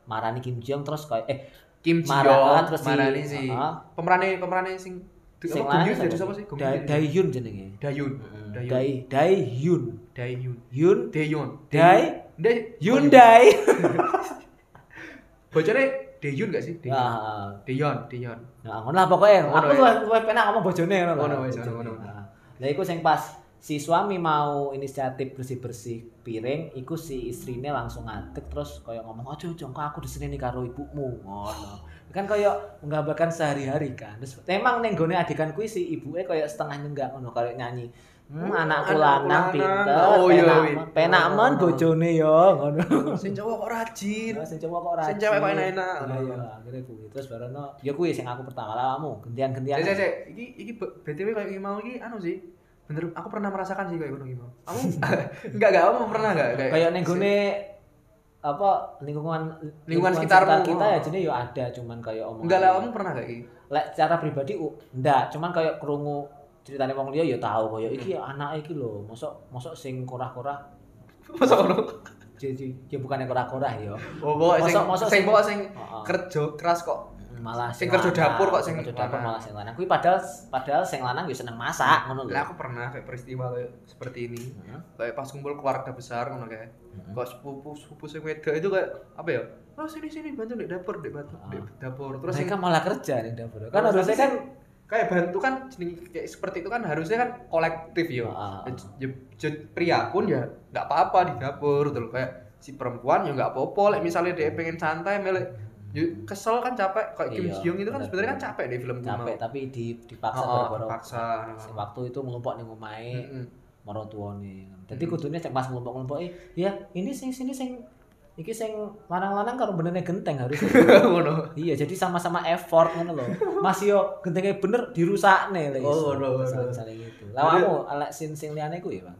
Speaker 1: marani Kim Ji Yong terus kayak eh
Speaker 2: Kim Ji
Speaker 1: marah
Speaker 2: Young
Speaker 1: ah, terus
Speaker 2: marani
Speaker 1: si
Speaker 2: si
Speaker 1: heeh.
Speaker 2: pemerannya pemerannya sing Du-
Speaker 1: Sing
Speaker 2: apa
Speaker 1: lanang
Speaker 2: Gong Yoo jadi
Speaker 1: siapa?
Speaker 2: siapa sih Gong
Speaker 1: Da-
Speaker 2: Yoo
Speaker 1: Dai
Speaker 2: jadi-
Speaker 1: Hyun jenenge.
Speaker 2: Dayun Dayun.
Speaker 1: Dai Dai Hyun.
Speaker 2: Dayun
Speaker 1: Hyun
Speaker 2: Dayun
Speaker 1: Dai
Speaker 2: Day
Speaker 1: Hyundai.
Speaker 2: bocahnya Dayun gak sih Dayun
Speaker 1: Ah,
Speaker 2: Dayun Dayun
Speaker 1: Nah, ngono lah pokoknya.
Speaker 2: Ngono
Speaker 1: Aku
Speaker 2: ya.
Speaker 1: luwih luwih penak ngomong bojone ngono lah.
Speaker 2: Ngono wis,
Speaker 1: Bojone.
Speaker 2: ngono, ngono.
Speaker 1: Nah, Lah iku sing pas si suami mau inisiatif bersih-bersih piring, iku si istrine langsung ngadeg terus koyo ngomong, "Ojo, ojo, kok aku disini nih karo ibumu." Ngono. Kan koyo menggambarkan sehari-hari kan. Terus emang ning gone adegan kuwi si ibuke koyo setengah nyenggak ngono koyo nyanyi. Hmm,
Speaker 2: Hmm,
Speaker 1: anakku
Speaker 2: anakku lanang,
Speaker 1: lanang pinter,
Speaker 2: oh iya,
Speaker 1: penak
Speaker 2: iya.
Speaker 1: men- penak men bojone yo ngono.
Speaker 2: sing cowok kok rajin
Speaker 1: Nah, sing cowok kok rajin.
Speaker 2: Sing cewek kok enak-enak.
Speaker 1: Iya, iya, akhirnya kuwi. Terus barono, ya kuwi sing aku pertama lah kamu,
Speaker 2: Cek
Speaker 1: gentian-gentian.
Speaker 2: cek cek, iki iki B- BTW kayak gini mau iki anu sih. Bener, aku pernah merasakan sih kayak ngono gimau. Kamu enggak enggak kamu pernah enggak kayak
Speaker 1: Kayak ning gone apa lingkungan
Speaker 2: Lingkungan sekitarmu.
Speaker 1: kita ya jadi ya ada cuman kayak omongan.
Speaker 2: Enggak lah, kamu pernah enggak iki?
Speaker 1: Lek secara pribadi u- ndak, cuman kayak krungu ceritane wong liya ya tahu kaya iki
Speaker 2: Hmm.
Speaker 1: anake iki lho, mosok mosok sing korah-korah
Speaker 2: Masa ngono.
Speaker 1: jadi ya bukannya korah-korah ya.
Speaker 2: Oh, bawa sing
Speaker 1: Mosok- mosok
Speaker 2: sing
Speaker 1: sing-
Speaker 2: bawa sing
Speaker 1: Heeh.
Speaker 2: kerja keras kok.
Speaker 1: malah
Speaker 2: sing kerja
Speaker 1: lanang,
Speaker 2: dapur kok sing Ah.
Speaker 1: kerja dapur
Speaker 2: lanang.
Speaker 1: malah sing lanang. Kuwi padahal padahal sing lanang ya seneng masak ngono lho. Hmm.
Speaker 2: Lah aku pernah kayak peristiwa kayak seperti ini.
Speaker 1: Heeh.
Speaker 2: Kayak pas kumpul keluarga besar ngono kayak.
Speaker 1: Heeh.
Speaker 2: Kok sepupu sepupu sing wedok itu kayak apa ya? Oh sini sini bantu di dapur di bantu di dapur. Terus sing
Speaker 1: Ah. mereka malah kerja di dapur kan
Speaker 2: Terus
Speaker 1: harusnya
Speaker 2: tapi
Speaker 1: kan
Speaker 2: kayak bantu kan jeneng- kayak seperti itu kan harusnya kan kolektif ya.
Speaker 1: Ah, ah, ah.
Speaker 2: Ya, ya, pria pun ya nggak apa-apa di dapur tuh kayak si perempuan ya nggak apa-apa like, misalnya dia pengen santai melek ya kesel kan capek kayak Kim
Speaker 1: Iya,
Speaker 2: Ji Young itu kan
Speaker 1: benar.
Speaker 2: sebenarnya kan capek deh film
Speaker 1: capek tapi di, dipaksa
Speaker 2: oh,
Speaker 1: boro-boro.
Speaker 2: paksa
Speaker 1: Sing waktu itu ngelompok ning omahe
Speaker 2: Mm-mm.
Speaker 1: marang tuane jadi
Speaker 2: Mm.
Speaker 1: kudune cek pas ngelompok-ngelompok eh ya ini sing sini sing iki sing lanang-lanang karo benene genteng harus
Speaker 2: ngono
Speaker 1: iya jadi sama-sama effort ngono lho mas yo gentengnya bener dirusakne lho
Speaker 2: Oh, ngono, ngono.
Speaker 1: saling gitu lawamu alek sin sing liyane ku ya bang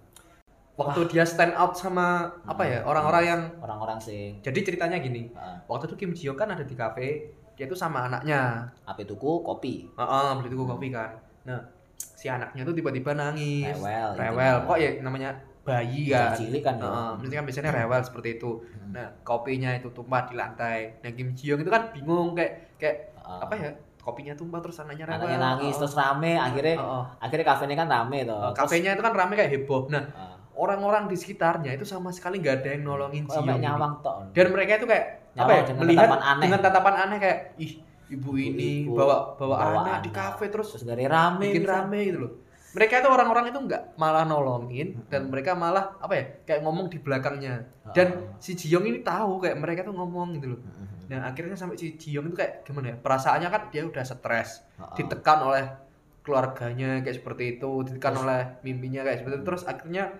Speaker 2: waktu dia stand out sama apa ya orang-orang yang
Speaker 1: orang-orang sing
Speaker 2: jadi ceritanya gini
Speaker 1: ah,
Speaker 2: waktu itu Kim Ji Hyun kan ada di kafe dia tuh sama anaknya
Speaker 1: ape tuku kopi
Speaker 2: Heeh, beli tuku kopi kan nah si anaknya tuh tiba-tiba nangis
Speaker 1: rewel
Speaker 2: rewel kok ya Ah, namanya bayi kan
Speaker 1: cilik kan ya.
Speaker 2: Heeh, berarti kan biasanya rewel seperti itu
Speaker 1: Hmm.
Speaker 2: nah kopinya itu tumpah di lantai nah Kim Ji Hyun itu kan bingung kayak kayak
Speaker 1: Heeh.
Speaker 2: apa ya kopinya tumpah terus anaknya rewel
Speaker 1: anaknya nangis terus rame akhirnya
Speaker 2: Heeh. Heeh.
Speaker 1: akhirnya kafenya kan rame toh
Speaker 2: Eh,
Speaker 1: Terus,
Speaker 2: Oh. kafenya itu kan rame kayak heboh nah
Speaker 1: ah,
Speaker 2: orang-orang di sekitarnya itu sama sekali nggak ada yang nolongin
Speaker 1: kok
Speaker 2: Ji
Speaker 1: sampe
Speaker 2: Hyun ini.
Speaker 1: nyawang tok
Speaker 2: gitu. dan mereka itu kayak apa ya
Speaker 1: dengan
Speaker 2: melihat
Speaker 1: tatapan aneh
Speaker 2: dengan tatapan aneh kayak ih ibu,
Speaker 1: Ibu-
Speaker 2: ini
Speaker 1: ibu,
Speaker 2: bawa bawa,
Speaker 1: bawa
Speaker 2: anak, di
Speaker 1: anak.
Speaker 2: kafe terus
Speaker 1: terus dari rame
Speaker 2: bikin
Speaker 1: bisa.
Speaker 2: rame gitu loh mereka itu orang-orang itu nggak malah nolongin
Speaker 1: Mm-mm.
Speaker 2: dan mereka malah apa ya kayak ngomong di belakangnya
Speaker 1: Heeh.
Speaker 2: dan si Jiyong ini tahu kayak mereka tuh ngomong gitu loh
Speaker 1: Heeh.
Speaker 2: dan akhirnya sampai si Jiyong itu kayak gimana ya perasaannya kan dia udah stres
Speaker 1: Heeh.
Speaker 2: ditekan oleh keluarganya kayak seperti itu ditekan
Speaker 1: Terus-
Speaker 2: oleh mimpinya kayak seperti itu terus akhirnya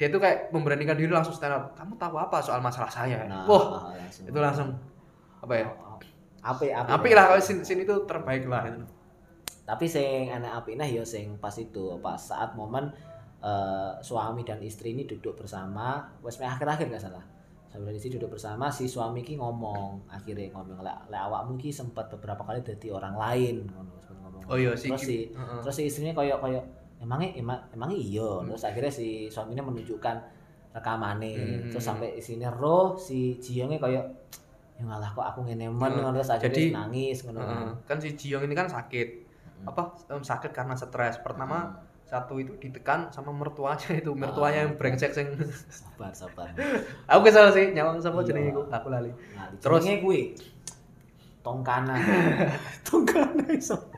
Speaker 2: dia tuh kayak memberanikan diri langsung stand up kamu tahu apa soal masalah saya
Speaker 1: Nah,
Speaker 2: wah
Speaker 1: ah, langsung. oh.
Speaker 2: itu langsung apa ya
Speaker 1: api api
Speaker 2: api lah kalau sin sin itu terbaik lah gitu. itu
Speaker 1: tapi sing enak api nah yo sing pas itu pas saat momen eh, suami dan istri ini duduk bersama wes meh akhir-akhir nggak salah suami dan istri duduk bersama si suami ki ngomong akhirnya ngomong lek lek awakmu ki sempat beberapa kali jadi orang lain ngono sempat ngomong
Speaker 2: oh iya sih
Speaker 1: terus si terus si istrinya koyok koyok emangnya emang emangnya iya
Speaker 2: Hmm.
Speaker 1: terus akhirnya si suaminya menunjukkan rekamannya
Speaker 2: Hmm.
Speaker 1: terus sampai istrinya roh si Jiyongnya koyok ya ngalah kok aku ngene men
Speaker 2: Hmm.
Speaker 1: terus akhirnya
Speaker 2: Jadi-
Speaker 1: nangis ngono
Speaker 2: kan si Jiyong ini kan sakit
Speaker 1: Mm.
Speaker 2: apa em, sakit karena stres pertama
Speaker 1: Hmm. Ah.
Speaker 2: satu itu ditekan sama mertuanya itu mertuanya yang brengsek sing
Speaker 1: sabar sabar
Speaker 2: aku kesel sih nyawang sama
Speaker 1: Iya.
Speaker 2: jenenge aku aku lali
Speaker 1: nah,
Speaker 2: Terus-
Speaker 1: terus gue tongkana tongkana iso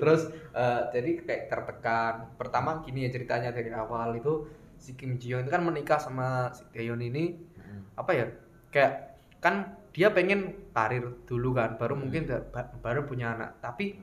Speaker 2: terus eh, jadi kayak tertekan pertama gini ya ceritanya dari awal itu si Kim Ji Hyun itu kan menikah sama si Daeyeon ini apa ya kayak kan dia pengen karir dulu kan baru mungkin da- ba- baru punya anak tapi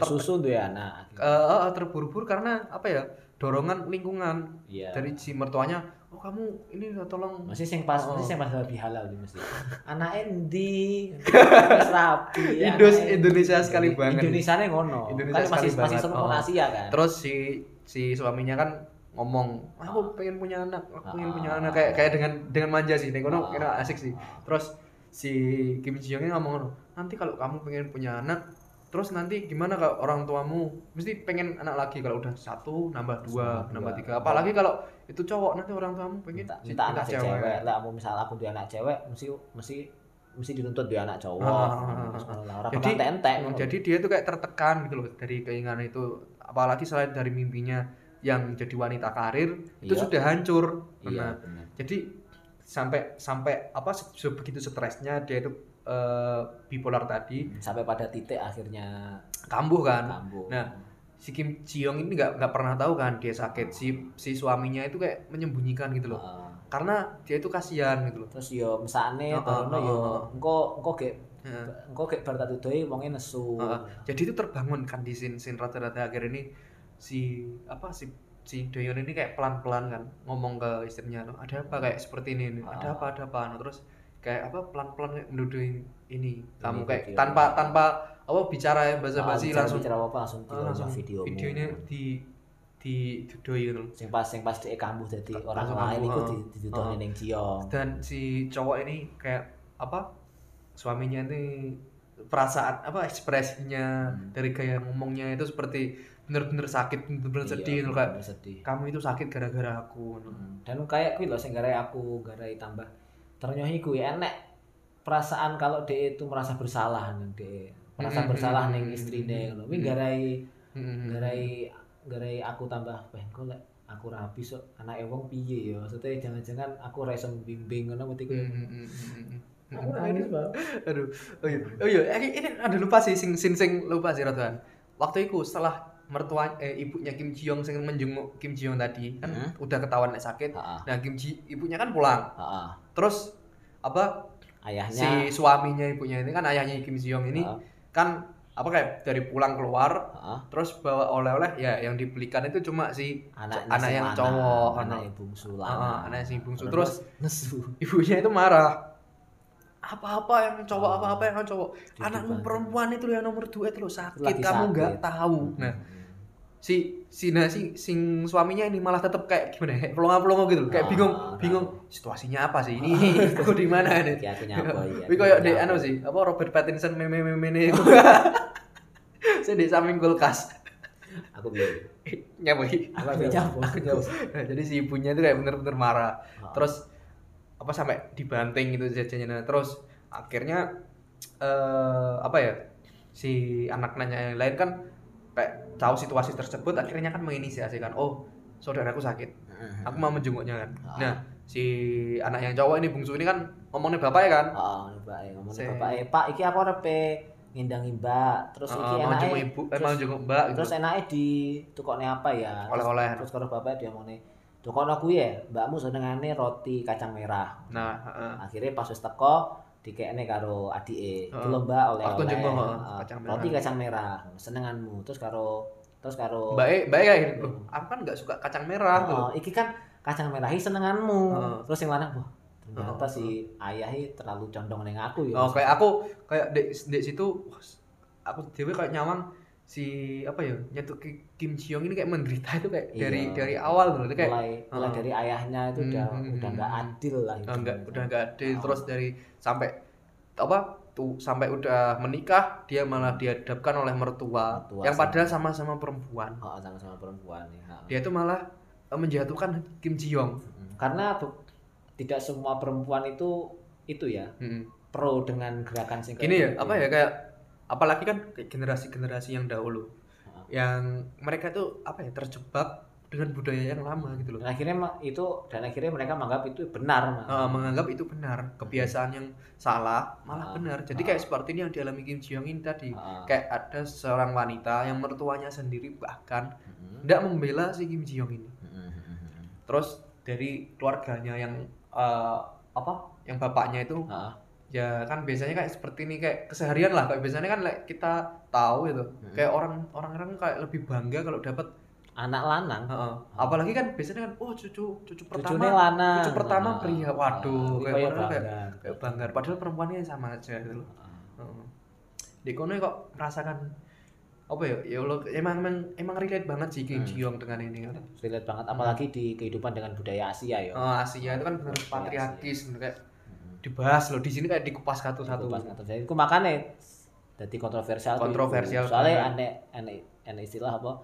Speaker 1: susu tuh ya anak
Speaker 2: eh, eh, terburu-buru karena apa ya dorongan lingkungan
Speaker 1: iya
Speaker 2: dari si mertuanya oh kamu ini tolong
Speaker 1: masih sing pas
Speaker 2: Oh.
Speaker 1: masih sing pas lebih halal di masjid anak endi Wis rapi
Speaker 2: Indos-
Speaker 1: anake-
Speaker 2: Indonesia sekali banget.
Speaker 1: Indonesia nih ngono
Speaker 2: Indonesia
Speaker 1: kan masih masih
Speaker 2: sekali banget.
Speaker 1: seluruh
Speaker 2: Oh.
Speaker 1: Asia kan
Speaker 2: terus si si suaminya kan ngomong aku pengen punya anak aku pengen punya anak kayak kayak dengan dengan manja sih
Speaker 1: Ah.
Speaker 2: nih
Speaker 1: Oh.
Speaker 2: kono kira asik sih terus si Kim Ji Young ini ngomong nanti kalau kamu pengen punya anak terus nanti gimana kalau orang tuamu mesti pengen anak lagi kalau udah satu nambah dua
Speaker 1: Nambah
Speaker 2: nambah
Speaker 1: dua.
Speaker 2: tiga apalagi kalau itu cowok nanti orang tuamu pengen
Speaker 1: minta,
Speaker 2: si-
Speaker 1: minta anak cewek, lah aku misal aku dua anak cewek mesti mesti mesti dituntut dua anak cowok
Speaker 2: Ah, ah, ah,
Speaker 1: Terus ngono lah, orang
Speaker 2: Jadi-
Speaker 1: kemana entek
Speaker 2: Nah, jadi dia tuh kayak tertekan gitu loh dari keinginan itu apalagi selain dari mimpinya yang jadi wanita karir itu
Speaker 1: Iya.
Speaker 2: sudah hancur
Speaker 1: iya
Speaker 2: Nah,
Speaker 1: bener.
Speaker 2: jadi sampai sampai apa se- se- begitu stresnya dia itu eh, bipolar tadi
Speaker 1: sampai pada titik akhirnya
Speaker 2: kambuh Hmm. kan
Speaker 1: kambuh
Speaker 2: Nah, si Kim Jiyong ini nggak nggak pernah tahu kan dia sakit si si suaminya itu kayak menyembunyikan gitu loh
Speaker 1: Ah,
Speaker 2: karena dia itu kasihan gitu loh
Speaker 1: terus yo mesane
Speaker 2: Ah,
Speaker 1: barono
Speaker 2: ah,
Speaker 1: yo
Speaker 2: ah.
Speaker 1: engko engko gek
Speaker 2: Heeh.
Speaker 1: engko gek bar tak tudoi wonge nesu
Speaker 2: Ah, jadi itu terbangun kan di sin sin rata-rata akhir ini si apa si si Doyon ini kayak pelan-pelan kan ngomong ke istrinya "Loh, ada apa kayak seperti ini, ini.
Speaker 1: Ah.
Speaker 2: ada apa ada apa Nah, terus kayak apa pelan-pelan kayak menduduin ini kamu
Speaker 1: Ini
Speaker 2: kayak
Speaker 1: video.
Speaker 2: tanpa tanpa apa bicara yang basa-basi
Speaker 1: bicara-
Speaker 2: langsung
Speaker 1: bicara apa langsung
Speaker 2: ah, langsung
Speaker 1: langsung video
Speaker 2: videonya di di dudui gitu loh.
Speaker 1: sing pas sing pas dhek kambuh dadi
Speaker 2: Langsung
Speaker 1: orang
Speaker 2: kambuh,
Speaker 1: lain iku
Speaker 2: ah.
Speaker 1: di- didudoni
Speaker 2: Ah.
Speaker 1: ning Jiyong
Speaker 2: dan si cowok ini kayak apa suaminya ini perasaan apa ekspresinya
Speaker 1: Hmm.
Speaker 2: dari gaya ngomongnya itu seperti bener-bener sakit bener-bener
Speaker 1: Iya,
Speaker 2: sedih loh, kayak
Speaker 1: bener sedih
Speaker 2: kamu itu sakit gara-gara aku
Speaker 1: Hmm. dan kayak kuwi lho sing garai aku garai tambah ternyohi kuwi enek perasaan kalau dia itu merasa bersalah ning dia merasa
Speaker 2: Hmm,
Speaker 1: bersalah
Speaker 2: hmm,
Speaker 1: ning
Speaker 2: hmm,
Speaker 1: istrine
Speaker 2: hmm,
Speaker 1: ngono kuwi
Speaker 2: hmm.
Speaker 1: garai
Speaker 2: Mm-mm.
Speaker 1: garai garai aku tambah ben kok lek aku rapi sok anake wong piye ya maksudnya jangan-jangan aku ra iso mbimbing ngono mesti kuwi
Speaker 2: Mm-mm.
Speaker 1: Aku nangis, Bang.
Speaker 2: aduh oh iya oh iya Eh, ini ada lupa sih sing sing sing lupa sih Rotuan waktu itu setelah mertua eh, ibunya Kim Ji Yong sing menjenguk Kim Ji Yong tadi kan
Speaker 1: Hmm.
Speaker 2: udah ketahuan nek sakit
Speaker 1: Heeh,
Speaker 2: nah Kim Ji ibunya kan pulang
Speaker 1: heeh.
Speaker 2: terus apa
Speaker 1: ayahnya Ah.
Speaker 2: si suaminya ibunya ini kan ayahnya Kim Ji Yong ini
Speaker 1: heeh.
Speaker 2: kan apa kayak dari pulang keluar
Speaker 1: Heeh.
Speaker 2: terus bawa oleh-oleh ya yang dibelikan itu cuma si
Speaker 1: Anaknya
Speaker 2: anak
Speaker 1: si
Speaker 2: yang
Speaker 1: Lana,
Speaker 2: cowok,
Speaker 1: anak
Speaker 2: anak-
Speaker 1: yang bungsu
Speaker 2: ah,
Speaker 1: lana.
Speaker 2: anak si bungsu terus
Speaker 1: nesu.
Speaker 2: ibunya itu marah apa-apa yang cowok
Speaker 1: Oh.
Speaker 2: apa-apa yang cowok anakmu
Speaker 1: Dibantu.
Speaker 2: perempuan itu yang nomor dua itu loh sakit
Speaker 1: Lagi
Speaker 2: kamu
Speaker 1: sakit.
Speaker 2: nggak tahu nah si si nah, si sing suaminya ini malah tetap kayak gimana ya pelongo-pelongo gitu loh, kayak
Speaker 1: Ah,
Speaker 2: bingung
Speaker 1: tahu.
Speaker 2: bingung situasinya apa sih ini ini aku di mana nih
Speaker 1: Ya, aku nyapa ya.
Speaker 2: Wih koyo dek anu sih, apa Robert Pattinson meme meme ini. Saya di samping kulkas.
Speaker 1: Aku belum.
Speaker 2: Nyaboi.
Speaker 1: Aku belum nyapa. Aku belum.
Speaker 2: Nah, jadi si ibunya itu kayak bener-bener marah.
Speaker 1: Heeh.
Speaker 2: Terus apa sampai dibanting gitu jajannya. Terus akhirnya eh apa ya? Si anak-anaknya yang lain kan kayak tahu situasi tersebut akhirnya kan menginisiasikan, "Oh, saudaraku sakit. Aku mau menjenguknya kan."
Speaker 1: Ah.
Speaker 2: Nah, si anak yang cowok ini bungsu ini kan ngomongnya bapak ya kan?
Speaker 1: Heeh, bapak e ngomong
Speaker 2: Se-
Speaker 1: bapak e, Pak, iki aku repe ngindangi Mbak. Terus
Speaker 2: Eh,
Speaker 1: iki
Speaker 2: mau
Speaker 1: enake
Speaker 2: jenguk ibu, eh,
Speaker 1: terus-
Speaker 2: mau jenguk mbak gitu.
Speaker 1: terus enake di tukokne apa ya? Terus-
Speaker 2: Oleh-oleh.
Speaker 1: Terus karo bapak dia ngomongnya tukokno aku ya, mbakmu senengane roti kacang merah.
Speaker 2: Nah, heeh.
Speaker 1: akhirnya pas wis teko dikekne karo adike
Speaker 2: Heeh.
Speaker 1: itu lomba oleh
Speaker 2: Ah. Aku
Speaker 1: oleh
Speaker 2: jenguk, heeh, kacang
Speaker 1: kacang
Speaker 2: merah.
Speaker 1: Ah, roti kacang merah senenganmu terus karo terus karo
Speaker 2: Mbak E, Mbak E kayak gini, "Loh, aku kan nggak suka kacang merah gitu. tuh.
Speaker 1: Heeh, iki kan kacang merah iki senenganmu
Speaker 2: Heeh.
Speaker 1: terus yang lanang wah ternyata
Speaker 2: Heeh.
Speaker 1: si ayah iki terlalu condong ning aku ya
Speaker 2: Oh, kayak aku kayak dek dek situ wah, aku dewe kayak nyawang si apa ya nyetuk Ki- Kim Ji Yong ini kayak menderita itu kayak
Speaker 1: Iya.
Speaker 2: dari dari awal loh itu kayak
Speaker 1: mulai mulai
Speaker 2: heeh.
Speaker 1: dari ayahnya itu udah
Speaker 2: Hmm.
Speaker 1: udah nggak adil lah
Speaker 2: udah nggak
Speaker 1: hidupnya.
Speaker 2: udah nggak ada
Speaker 1: Heeh.
Speaker 2: terus dari sampai apa tuh sampai udah menikah dia malah dihadapkan oleh mertua,
Speaker 1: Mertua
Speaker 2: yang
Speaker 1: sama-
Speaker 2: padahal sama-sama perempuan
Speaker 1: Heeh, sama-sama perempuan ya. heeh.
Speaker 2: dia itu malah eh, menjatuhkan Kim Ji Yong
Speaker 1: Mm. karena bu- tidak semua perempuan itu itu ya
Speaker 2: Mm-mm.
Speaker 1: pro dengan gerakan gitu. singkat
Speaker 2: gini ya apa
Speaker 1: Iya.
Speaker 2: ya kayak apalagi kan kayak generasi-generasi yang dahulu
Speaker 1: Heeh.
Speaker 2: yang mereka tuh apa ya terjebak dengan budaya yang lama gitu loh
Speaker 1: dan akhirnya ma- itu dan akhirnya mereka menganggap itu benar Mak.
Speaker 2: Eh, menganggap itu benar kebiasaan yang salah
Speaker 1: Ah,
Speaker 2: malah benar jadi
Speaker 1: ah.
Speaker 2: kayak seperti ini yang dialami Kim Ji Young ini tadi
Speaker 1: Heeh.
Speaker 2: kayak ada seorang wanita yang mertuanya sendiri bahkan
Speaker 1: Mm-mm.
Speaker 2: tidak membela si Kim Ji Young ini
Speaker 1: hmm, Mm-mm.
Speaker 2: terus dari keluarganya yang eh, apa yang bapaknya itu
Speaker 1: Ah.
Speaker 2: ya kan biasanya kayak seperti ini kayak keseharian lah kayak biasanya kan like, kita tahu gitu
Speaker 1: Mm-mm.
Speaker 2: kayak orang orang orang kayak lebih bangga kalau dapat
Speaker 1: anak lanang
Speaker 2: heeh. apalagi kan biasanya kan oh cucu cucu
Speaker 1: Ah. cucunya
Speaker 2: pertama
Speaker 1: lanang
Speaker 2: cucu pertama
Speaker 1: Ah.
Speaker 2: pria.
Speaker 1: Ah,
Speaker 2: Waduh, kayak
Speaker 1: kayak
Speaker 2: orang kayak-
Speaker 1: bangga.
Speaker 2: kayak Ah. bangga padahal perempuannya sama aja gitu loh
Speaker 1: Ah.
Speaker 2: Heeh. di kono kok merasakan apa ya ya Allah emang emang emang relate banget sih
Speaker 1: Hmm.
Speaker 2: Kim Ji Yong dengan ini kan
Speaker 1: relate banget apalagi di kehidupan dengan budaya Asia ya
Speaker 2: Eh, Asia itu kan bener
Speaker 1: Budaya
Speaker 2: patriarkis bener kayak
Speaker 1: Mm-mm.
Speaker 2: dibahas loh di sini kayak dikupas satu-satu
Speaker 1: Aku pas ngatur saya, aku makanya jadi kontroversial tuh
Speaker 2: Kontroversial
Speaker 1: itu. soalnya
Speaker 2: banget.
Speaker 1: aneh aneh aneh istilah apa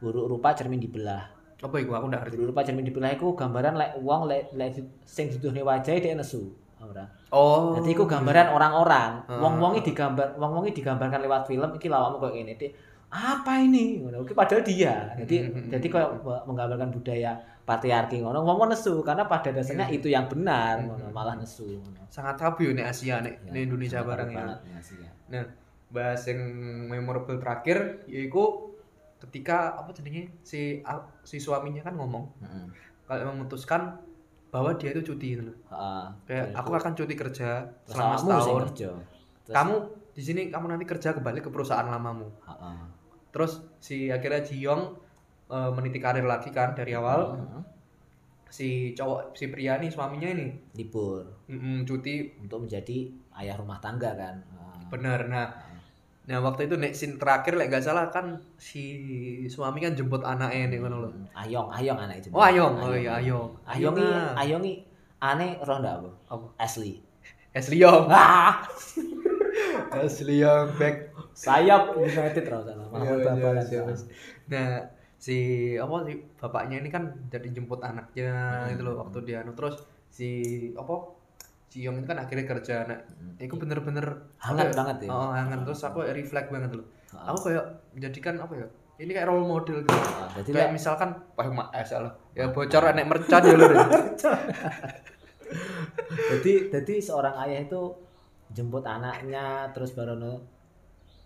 Speaker 1: buruk rupa cermin dibelah
Speaker 2: apa itu aku nggak ngerti
Speaker 1: buruk rupa cermin dibelah itu gambaran lek uang lek lek sing diduduhne wajahnya dia nesu ora
Speaker 2: oh
Speaker 1: Jadi iku gambaran orang-orang,
Speaker 2: Hmm.
Speaker 1: wong-wongi digambar, wong-wongi digambarkan lewat film iki lawakmu koyo ngene. Dik, apa ini? Ngono. Iki padahal dia. Jadi
Speaker 2: Hmm.
Speaker 1: jadi koyo me- menggambarkan budaya patriarki ngono. Wong wong nesu karena pada dasarnya
Speaker 2: Iya.
Speaker 1: itu yang benar,
Speaker 2: Hmm.
Speaker 1: ngono. Malah nesu ngono.
Speaker 2: sangat tabu nih Asia nih
Speaker 1: Ya,
Speaker 2: nih Indonesia
Speaker 1: sangat
Speaker 2: bareng ya
Speaker 1: banget nih Asia.
Speaker 2: bahas yang memorable terakhir yaitu ketika apa jadinya si si suaminya kan ngomong
Speaker 1: Heeh.
Speaker 2: kalau memutuskan bahwa dia itu cuti gitu loh.
Speaker 1: Heeh.
Speaker 2: kayak
Speaker 1: Terus
Speaker 2: aku akan cuti kerja
Speaker 1: terus
Speaker 2: selama
Speaker 1: awakmu sing
Speaker 2: setahun
Speaker 1: kerja. Terus-
Speaker 2: kamu di sini kamu nanti kerja kembali ke perusahaan lamamu
Speaker 1: Heeh.
Speaker 2: terus si akhirnya Jiyong eh, meniti karir lagi kan dari awal
Speaker 1: Heeh.
Speaker 2: si cowok si pria nih suaminya ini
Speaker 1: libur
Speaker 2: mm, cuti
Speaker 1: untuk menjadi ayah rumah tangga kan. Heeh.
Speaker 2: bener nah Nah waktu itu nek scene terakhir lek gak salah kan si suami kan jemput anaknya nih kan lo.
Speaker 1: Hmm. Ayong, Ayong anak itu.
Speaker 2: Oh Ayong, oh iya Ayong.
Speaker 1: Ayong i,
Speaker 2: ah.
Speaker 1: Ayong i aneh roh ndak apa?
Speaker 2: Apa?
Speaker 1: Asli.
Speaker 2: Ashley Young,
Speaker 1: Ah,
Speaker 2: Ashley Young back.
Speaker 1: sayap United roh sana. Malah
Speaker 2: Iya,
Speaker 1: bapak
Speaker 2: iya, iya, iya. Nah si apa si bapaknya ini kan jadi jemput anaknya
Speaker 1: Hmm.
Speaker 2: gitu loh waktu dia anu terus si apa si Young ini kan akhirnya kerja nah itu bener-bener
Speaker 1: Hangat
Speaker 2: apa ya?
Speaker 1: banget ya.
Speaker 2: oh hangat terus aku reflect banget loh
Speaker 1: Ah,
Speaker 2: aku kayak menjadikan apa ya ini kayak role model gitu
Speaker 1: ah, Jadi
Speaker 2: kayak
Speaker 1: lek-
Speaker 2: misalkan wah mak eh, salah ya bocor enek mercan ya lho
Speaker 1: jadi jadi seorang ayah itu jemput anaknya terus barono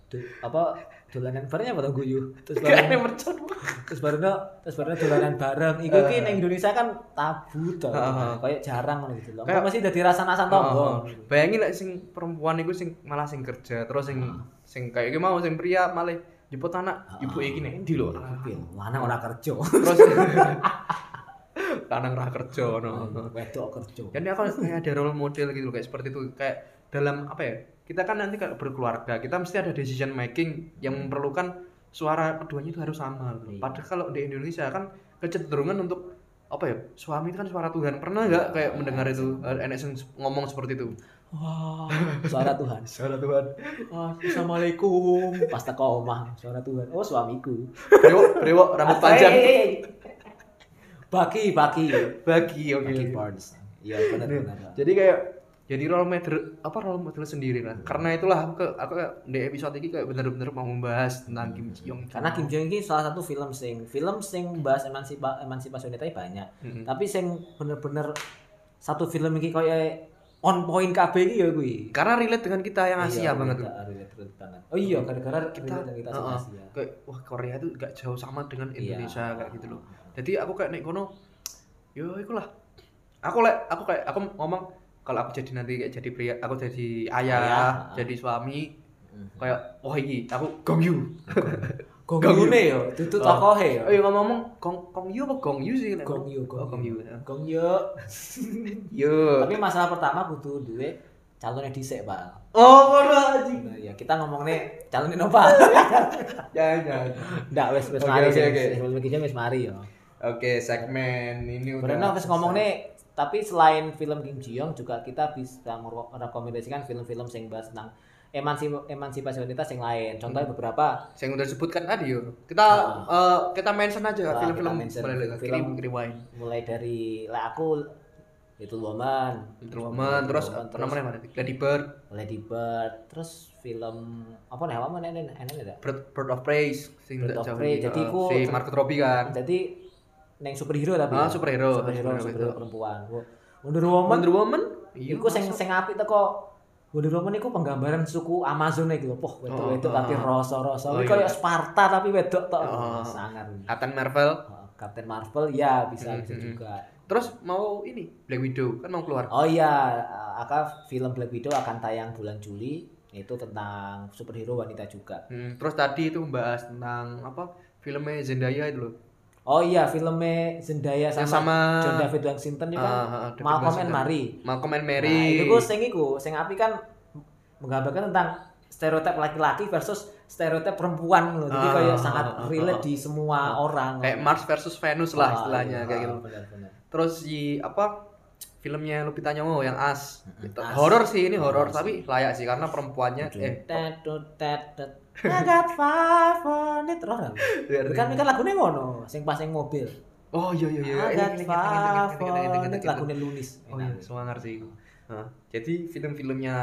Speaker 1: du- apa dolanan bareng apa tau guyu terus
Speaker 2: kayak enek
Speaker 1: barono
Speaker 2: mercan
Speaker 1: terus barono terus barono dolanan bareng iku ki
Speaker 2: Eh.
Speaker 1: nang Indonesia kan tabu to
Speaker 2: Ah, ah.
Speaker 1: kayak jarang ngono gitu loh
Speaker 2: Kayak- Oh,
Speaker 1: masih dadi rasa-rasa tonggo
Speaker 2: bayangin lah sing perempuan itu sing malah sing kerja terus sing sing kayak gimana mau sing pria malah jemput anak ibu iki nih di lho
Speaker 1: Kupil, mana ora kerja.
Speaker 2: terus lanang ra kerja no.
Speaker 1: Iya, Wedok kerja.
Speaker 2: Jadi aku kayak ada role model gitu loh, kayak seperti itu kayak dalam apa ya? Kita kan nanti kalau berkeluarga, kita mesti ada decision making yang memerlukan suara keduanya itu harus sama. gitu loh.
Speaker 1: Iya.
Speaker 2: Padahal kalau di Indonesia kan kecenderungan untuk apa ya? Suami itu kan suara Tuhan. Pernah nggak kayak mendengar itu eh, enek sing ngomong seperti itu?
Speaker 1: Wah, suara Tuhan.
Speaker 2: Suara Tuhan.
Speaker 1: Assalamualaikum. Pas teko omah, suara Tuhan. Oh, suamiku.
Speaker 2: Brewok, brewok rambut panjang.
Speaker 1: Hey, hey,
Speaker 2: eh.
Speaker 1: hey. Baki, baki.
Speaker 2: Bagi, oke.
Speaker 1: Baki
Speaker 2: oke.
Speaker 1: Barnes. Iya, benar
Speaker 2: Nih,
Speaker 1: benar.
Speaker 2: jadi kayak jadi role model apa role model sendiri lah karena itulah aku ke, aku kayak di episode ini kayak bener-bener mau membahas tentang Kim Ji Yong
Speaker 1: Karena Kim Jong ini salah satu film sing film sing bahas emansipa emansipasi wanita ini banyak.
Speaker 2: Mm-mm.
Speaker 1: Tapi sing bener-bener satu film ini kayak on point KB ini ya gue.
Speaker 2: karena relate dengan kita
Speaker 1: Iya,
Speaker 2: yang Asia banget tuh
Speaker 1: banget. Oh iya, gara-gara
Speaker 2: Kita-
Speaker 1: kita kita
Speaker 2: Heeh.
Speaker 1: sama Asia.
Speaker 2: kayak wah Korea tuh gak jauh sama dengan
Speaker 1: Iya.
Speaker 2: Indonesia kayak gitu loh jadi aku kayak nek kono yo ikulah aku lek aku kayak aku ngomong kalau aku jadi nanti kayak jadi pria aku jadi ayah,
Speaker 1: Ayah, ah.
Speaker 2: jadi suami
Speaker 1: Mm.
Speaker 2: kayak wah iki aku gong yu
Speaker 1: Gongyune yo, dudu
Speaker 2: Oh.
Speaker 1: tokohe yo.
Speaker 2: ayo ngomong-ngomong gong gong yu apa gong yu sih Nek?
Speaker 1: Gong Yoo, Gong
Speaker 2: oh, gong yu
Speaker 1: Gong yo.
Speaker 2: yo
Speaker 1: Tapi masalah pertama butuh duit calonnya dhisik, Pak.
Speaker 2: Oh, ora anjing.
Speaker 1: Nah, ya kita ngomongne calonnya nopo.
Speaker 2: Jangan, jangan.
Speaker 1: Ndak wis wis
Speaker 2: Oke,
Speaker 1: mari.
Speaker 2: oke,
Speaker 1: sih.
Speaker 2: oke.
Speaker 1: Sebelum iki wis mari yo.
Speaker 2: Oke, segmen ini udah.
Speaker 1: Berenang wis
Speaker 2: selesai.
Speaker 1: ngomong nih, tapi selain film Kim Ji Yong juga kita bisa merekomendasikan film-film yang bahas tentang emansi- emansipasi wanita yang lain. Contohnya
Speaker 2: Hmm.
Speaker 1: beberapa
Speaker 2: Saya udah sebutkan tadi yo. Kita
Speaker 1: Ah.
Speaker 2: eh, kita mention aja
Speaker 1: Ah, kita
Speaker 2: film-film
Speaker 1: mention.
Speaker 2: boleh lihat.
Speaker 1: Film.
Speaker 2: Kirim- rewind.
Speaker 1: mulai dari lah aku itu Woman,
Speaker 2: Little Woman, terus
Speaker 1: Woman,
Speaker 2: apa namanya mana? Lady Bird,
Speaker 1: Lady Bird, terus film apa nih? Apa nih? Enak ada.
Speaker 2: Bird, Bird of Prey, sing
Speaker 1: Bird
Speaker 2: ndak
Speaker 1: of
Speaker 2: jauh
Speaker 1: Prey,
Speaker 2: ini,
Speaker 1: jadi
Speaker 2: eh,
Speaker 1: aku-
Speaker 2: si Margot Robbie kan.
Speaker 1: Jadi neng superhero tapi.
Speaker 2: Ah,
Speaker 1: ya? Superhero,
Speaker 2: superhero, superhero
Speaker 1: superhero
Speaker 2: itu.
Speaker 1: perempuan. Wo- Wonder Woman, Iya,
Speaker 2: Wonder Woman? iya,
Speaker 1: iku sing
Speaker 2: masuk.
Speaker 1: sing apik teko Wonder Woman iku penggambaran suku Amazon iki lho. Poh, wedok-wedok
Speaker 2: Oh,
Speaker 1: tapi
Speaker 2: ah.
Speaker 1: rasa-rasa.
Speaker 2: Oh,
Speaker 1: Iki
Speaker 2: iya.
Speaker 1: koyo Sparta tapi wedok tok.
Speaker 2: Oh.
Speaker 1: Sangar.
Speaker 2: Captain Marvel.
Speaker 1: Oh, Captain Marvel ya bisa
Speaker 2: Hmm,
Speaker 1: bisa
Speaker 2: hmm,
Speaker 1: juga.
Speaker 2: Terus mau ini Black Widow kan mau keluar.
Speaker 1: Oh iya, akan film Black Widow akan tayang bulan Juli itu tentang superhero wanita juga.
Speaker 2: Hmm, terus tadi itu membahas tentang apa? Filmnya Zendaya itu loh.
Speaker 1: Oh iya, filmnya Zendaya
Speaker 2: Yang
Speaker 1: sama,
Speaker 2: sama
Speaker 1: John David Washington itu
Speaker 2: Ah,
Speaker 1: kan
Speaker 2: ah, ah, David
Speaker 1: Malcolm and
Speaker 2: Washington.
Speaker 1: Marie.
Speaker 2: Malcolm and
Speaker 1: Nah,
Speaker 2: Mary.
Speaker 1: itu gue sing iku, sing api kan menggambarkan tentang stereotip laki-laki versus stereotip perempuan loh. Jadi
Speaker 2: Ah,
Speaker 1: kayak
Speaker 2: ah,
Speaker 1: sangat
Speaker 2: ah, ah,
Speaker 1: relate
Speaker 2: ah.
Speaker 1: di semua orang.
Speaker 2: kayak
Speaker 1: Ah,
Speaker 2: Mars versus Venus lah istilahnya
Speaker 1: iya,
Speaker 2: kayak gitu.
Speaker 1: benar-benar.
Speaker 2: Terus si apa filmnya Lupita Nyong'o yang As.
Speaker 1: Mm-mm,
Speaker 2: Itu
Speaker 1: As.
Speaker 2: Horor sih ini
Speaker 1: Horor
Speaker 2: horor tapi layak sih karena perempuannya eh
Speaker 1: Ya, Tet, tut, tet, tet. I got five on it. Roh, roh. Kan kan lagunya ngono, sing pas sing mobil.
Speaker 2: Oh iya iya
Speaker 1: I
Speaker 2: iya. Ini,
Speaker 1: got
Speaker 2: ini, ini, ini,
Speaker 1: five
Speaker 2: ini, ini, ini, ini,
Speaker 1: on
Speaker 2: ini,
Speaker 1: it.
Speaker 2: ini.
Speaker 1: Lagunya lunis.
Speaker 2: Oh iya,
Speaker 1: Enak.
Speaker 2: semangat sih. Hah. Jadi film-filmnya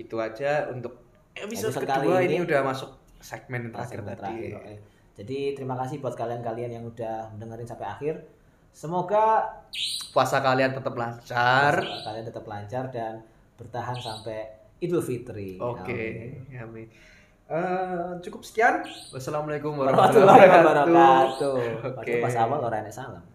Speaker 2: itu aja untuk episode
Speaker 1: Episode
Speaker 2: kedua
Speaker 1: kali
Speaker 2: ini
Speaker 1: ini.
Speaker 2: udah masuk segmen terakhir
Speaker 1: Segmen
Speaker 2: tadi.
Speaker 1: terakhir, oke. Jadi terima kasih buat kalian-kalian yang udah dengerin sampai akhir. Semoga
Speaker 2: Puasa kalian tetap lancar.
Speaker 1: kalian tetap lancar dan bertahan sampai Idul Fitri.
Speaker 2: Oke, amin. Eh, cukup sekian. Wassalamualaikum
Speaker 1: Warahmatullahi
Speaker 2: warahmatullahi
Speaker 1: wabarakatuh.
Speaker 2: wabarakatuh.
Speaker 1: Padahal
Speaker 2: Oke.
Speaker 1: Pas awal orang yang salam.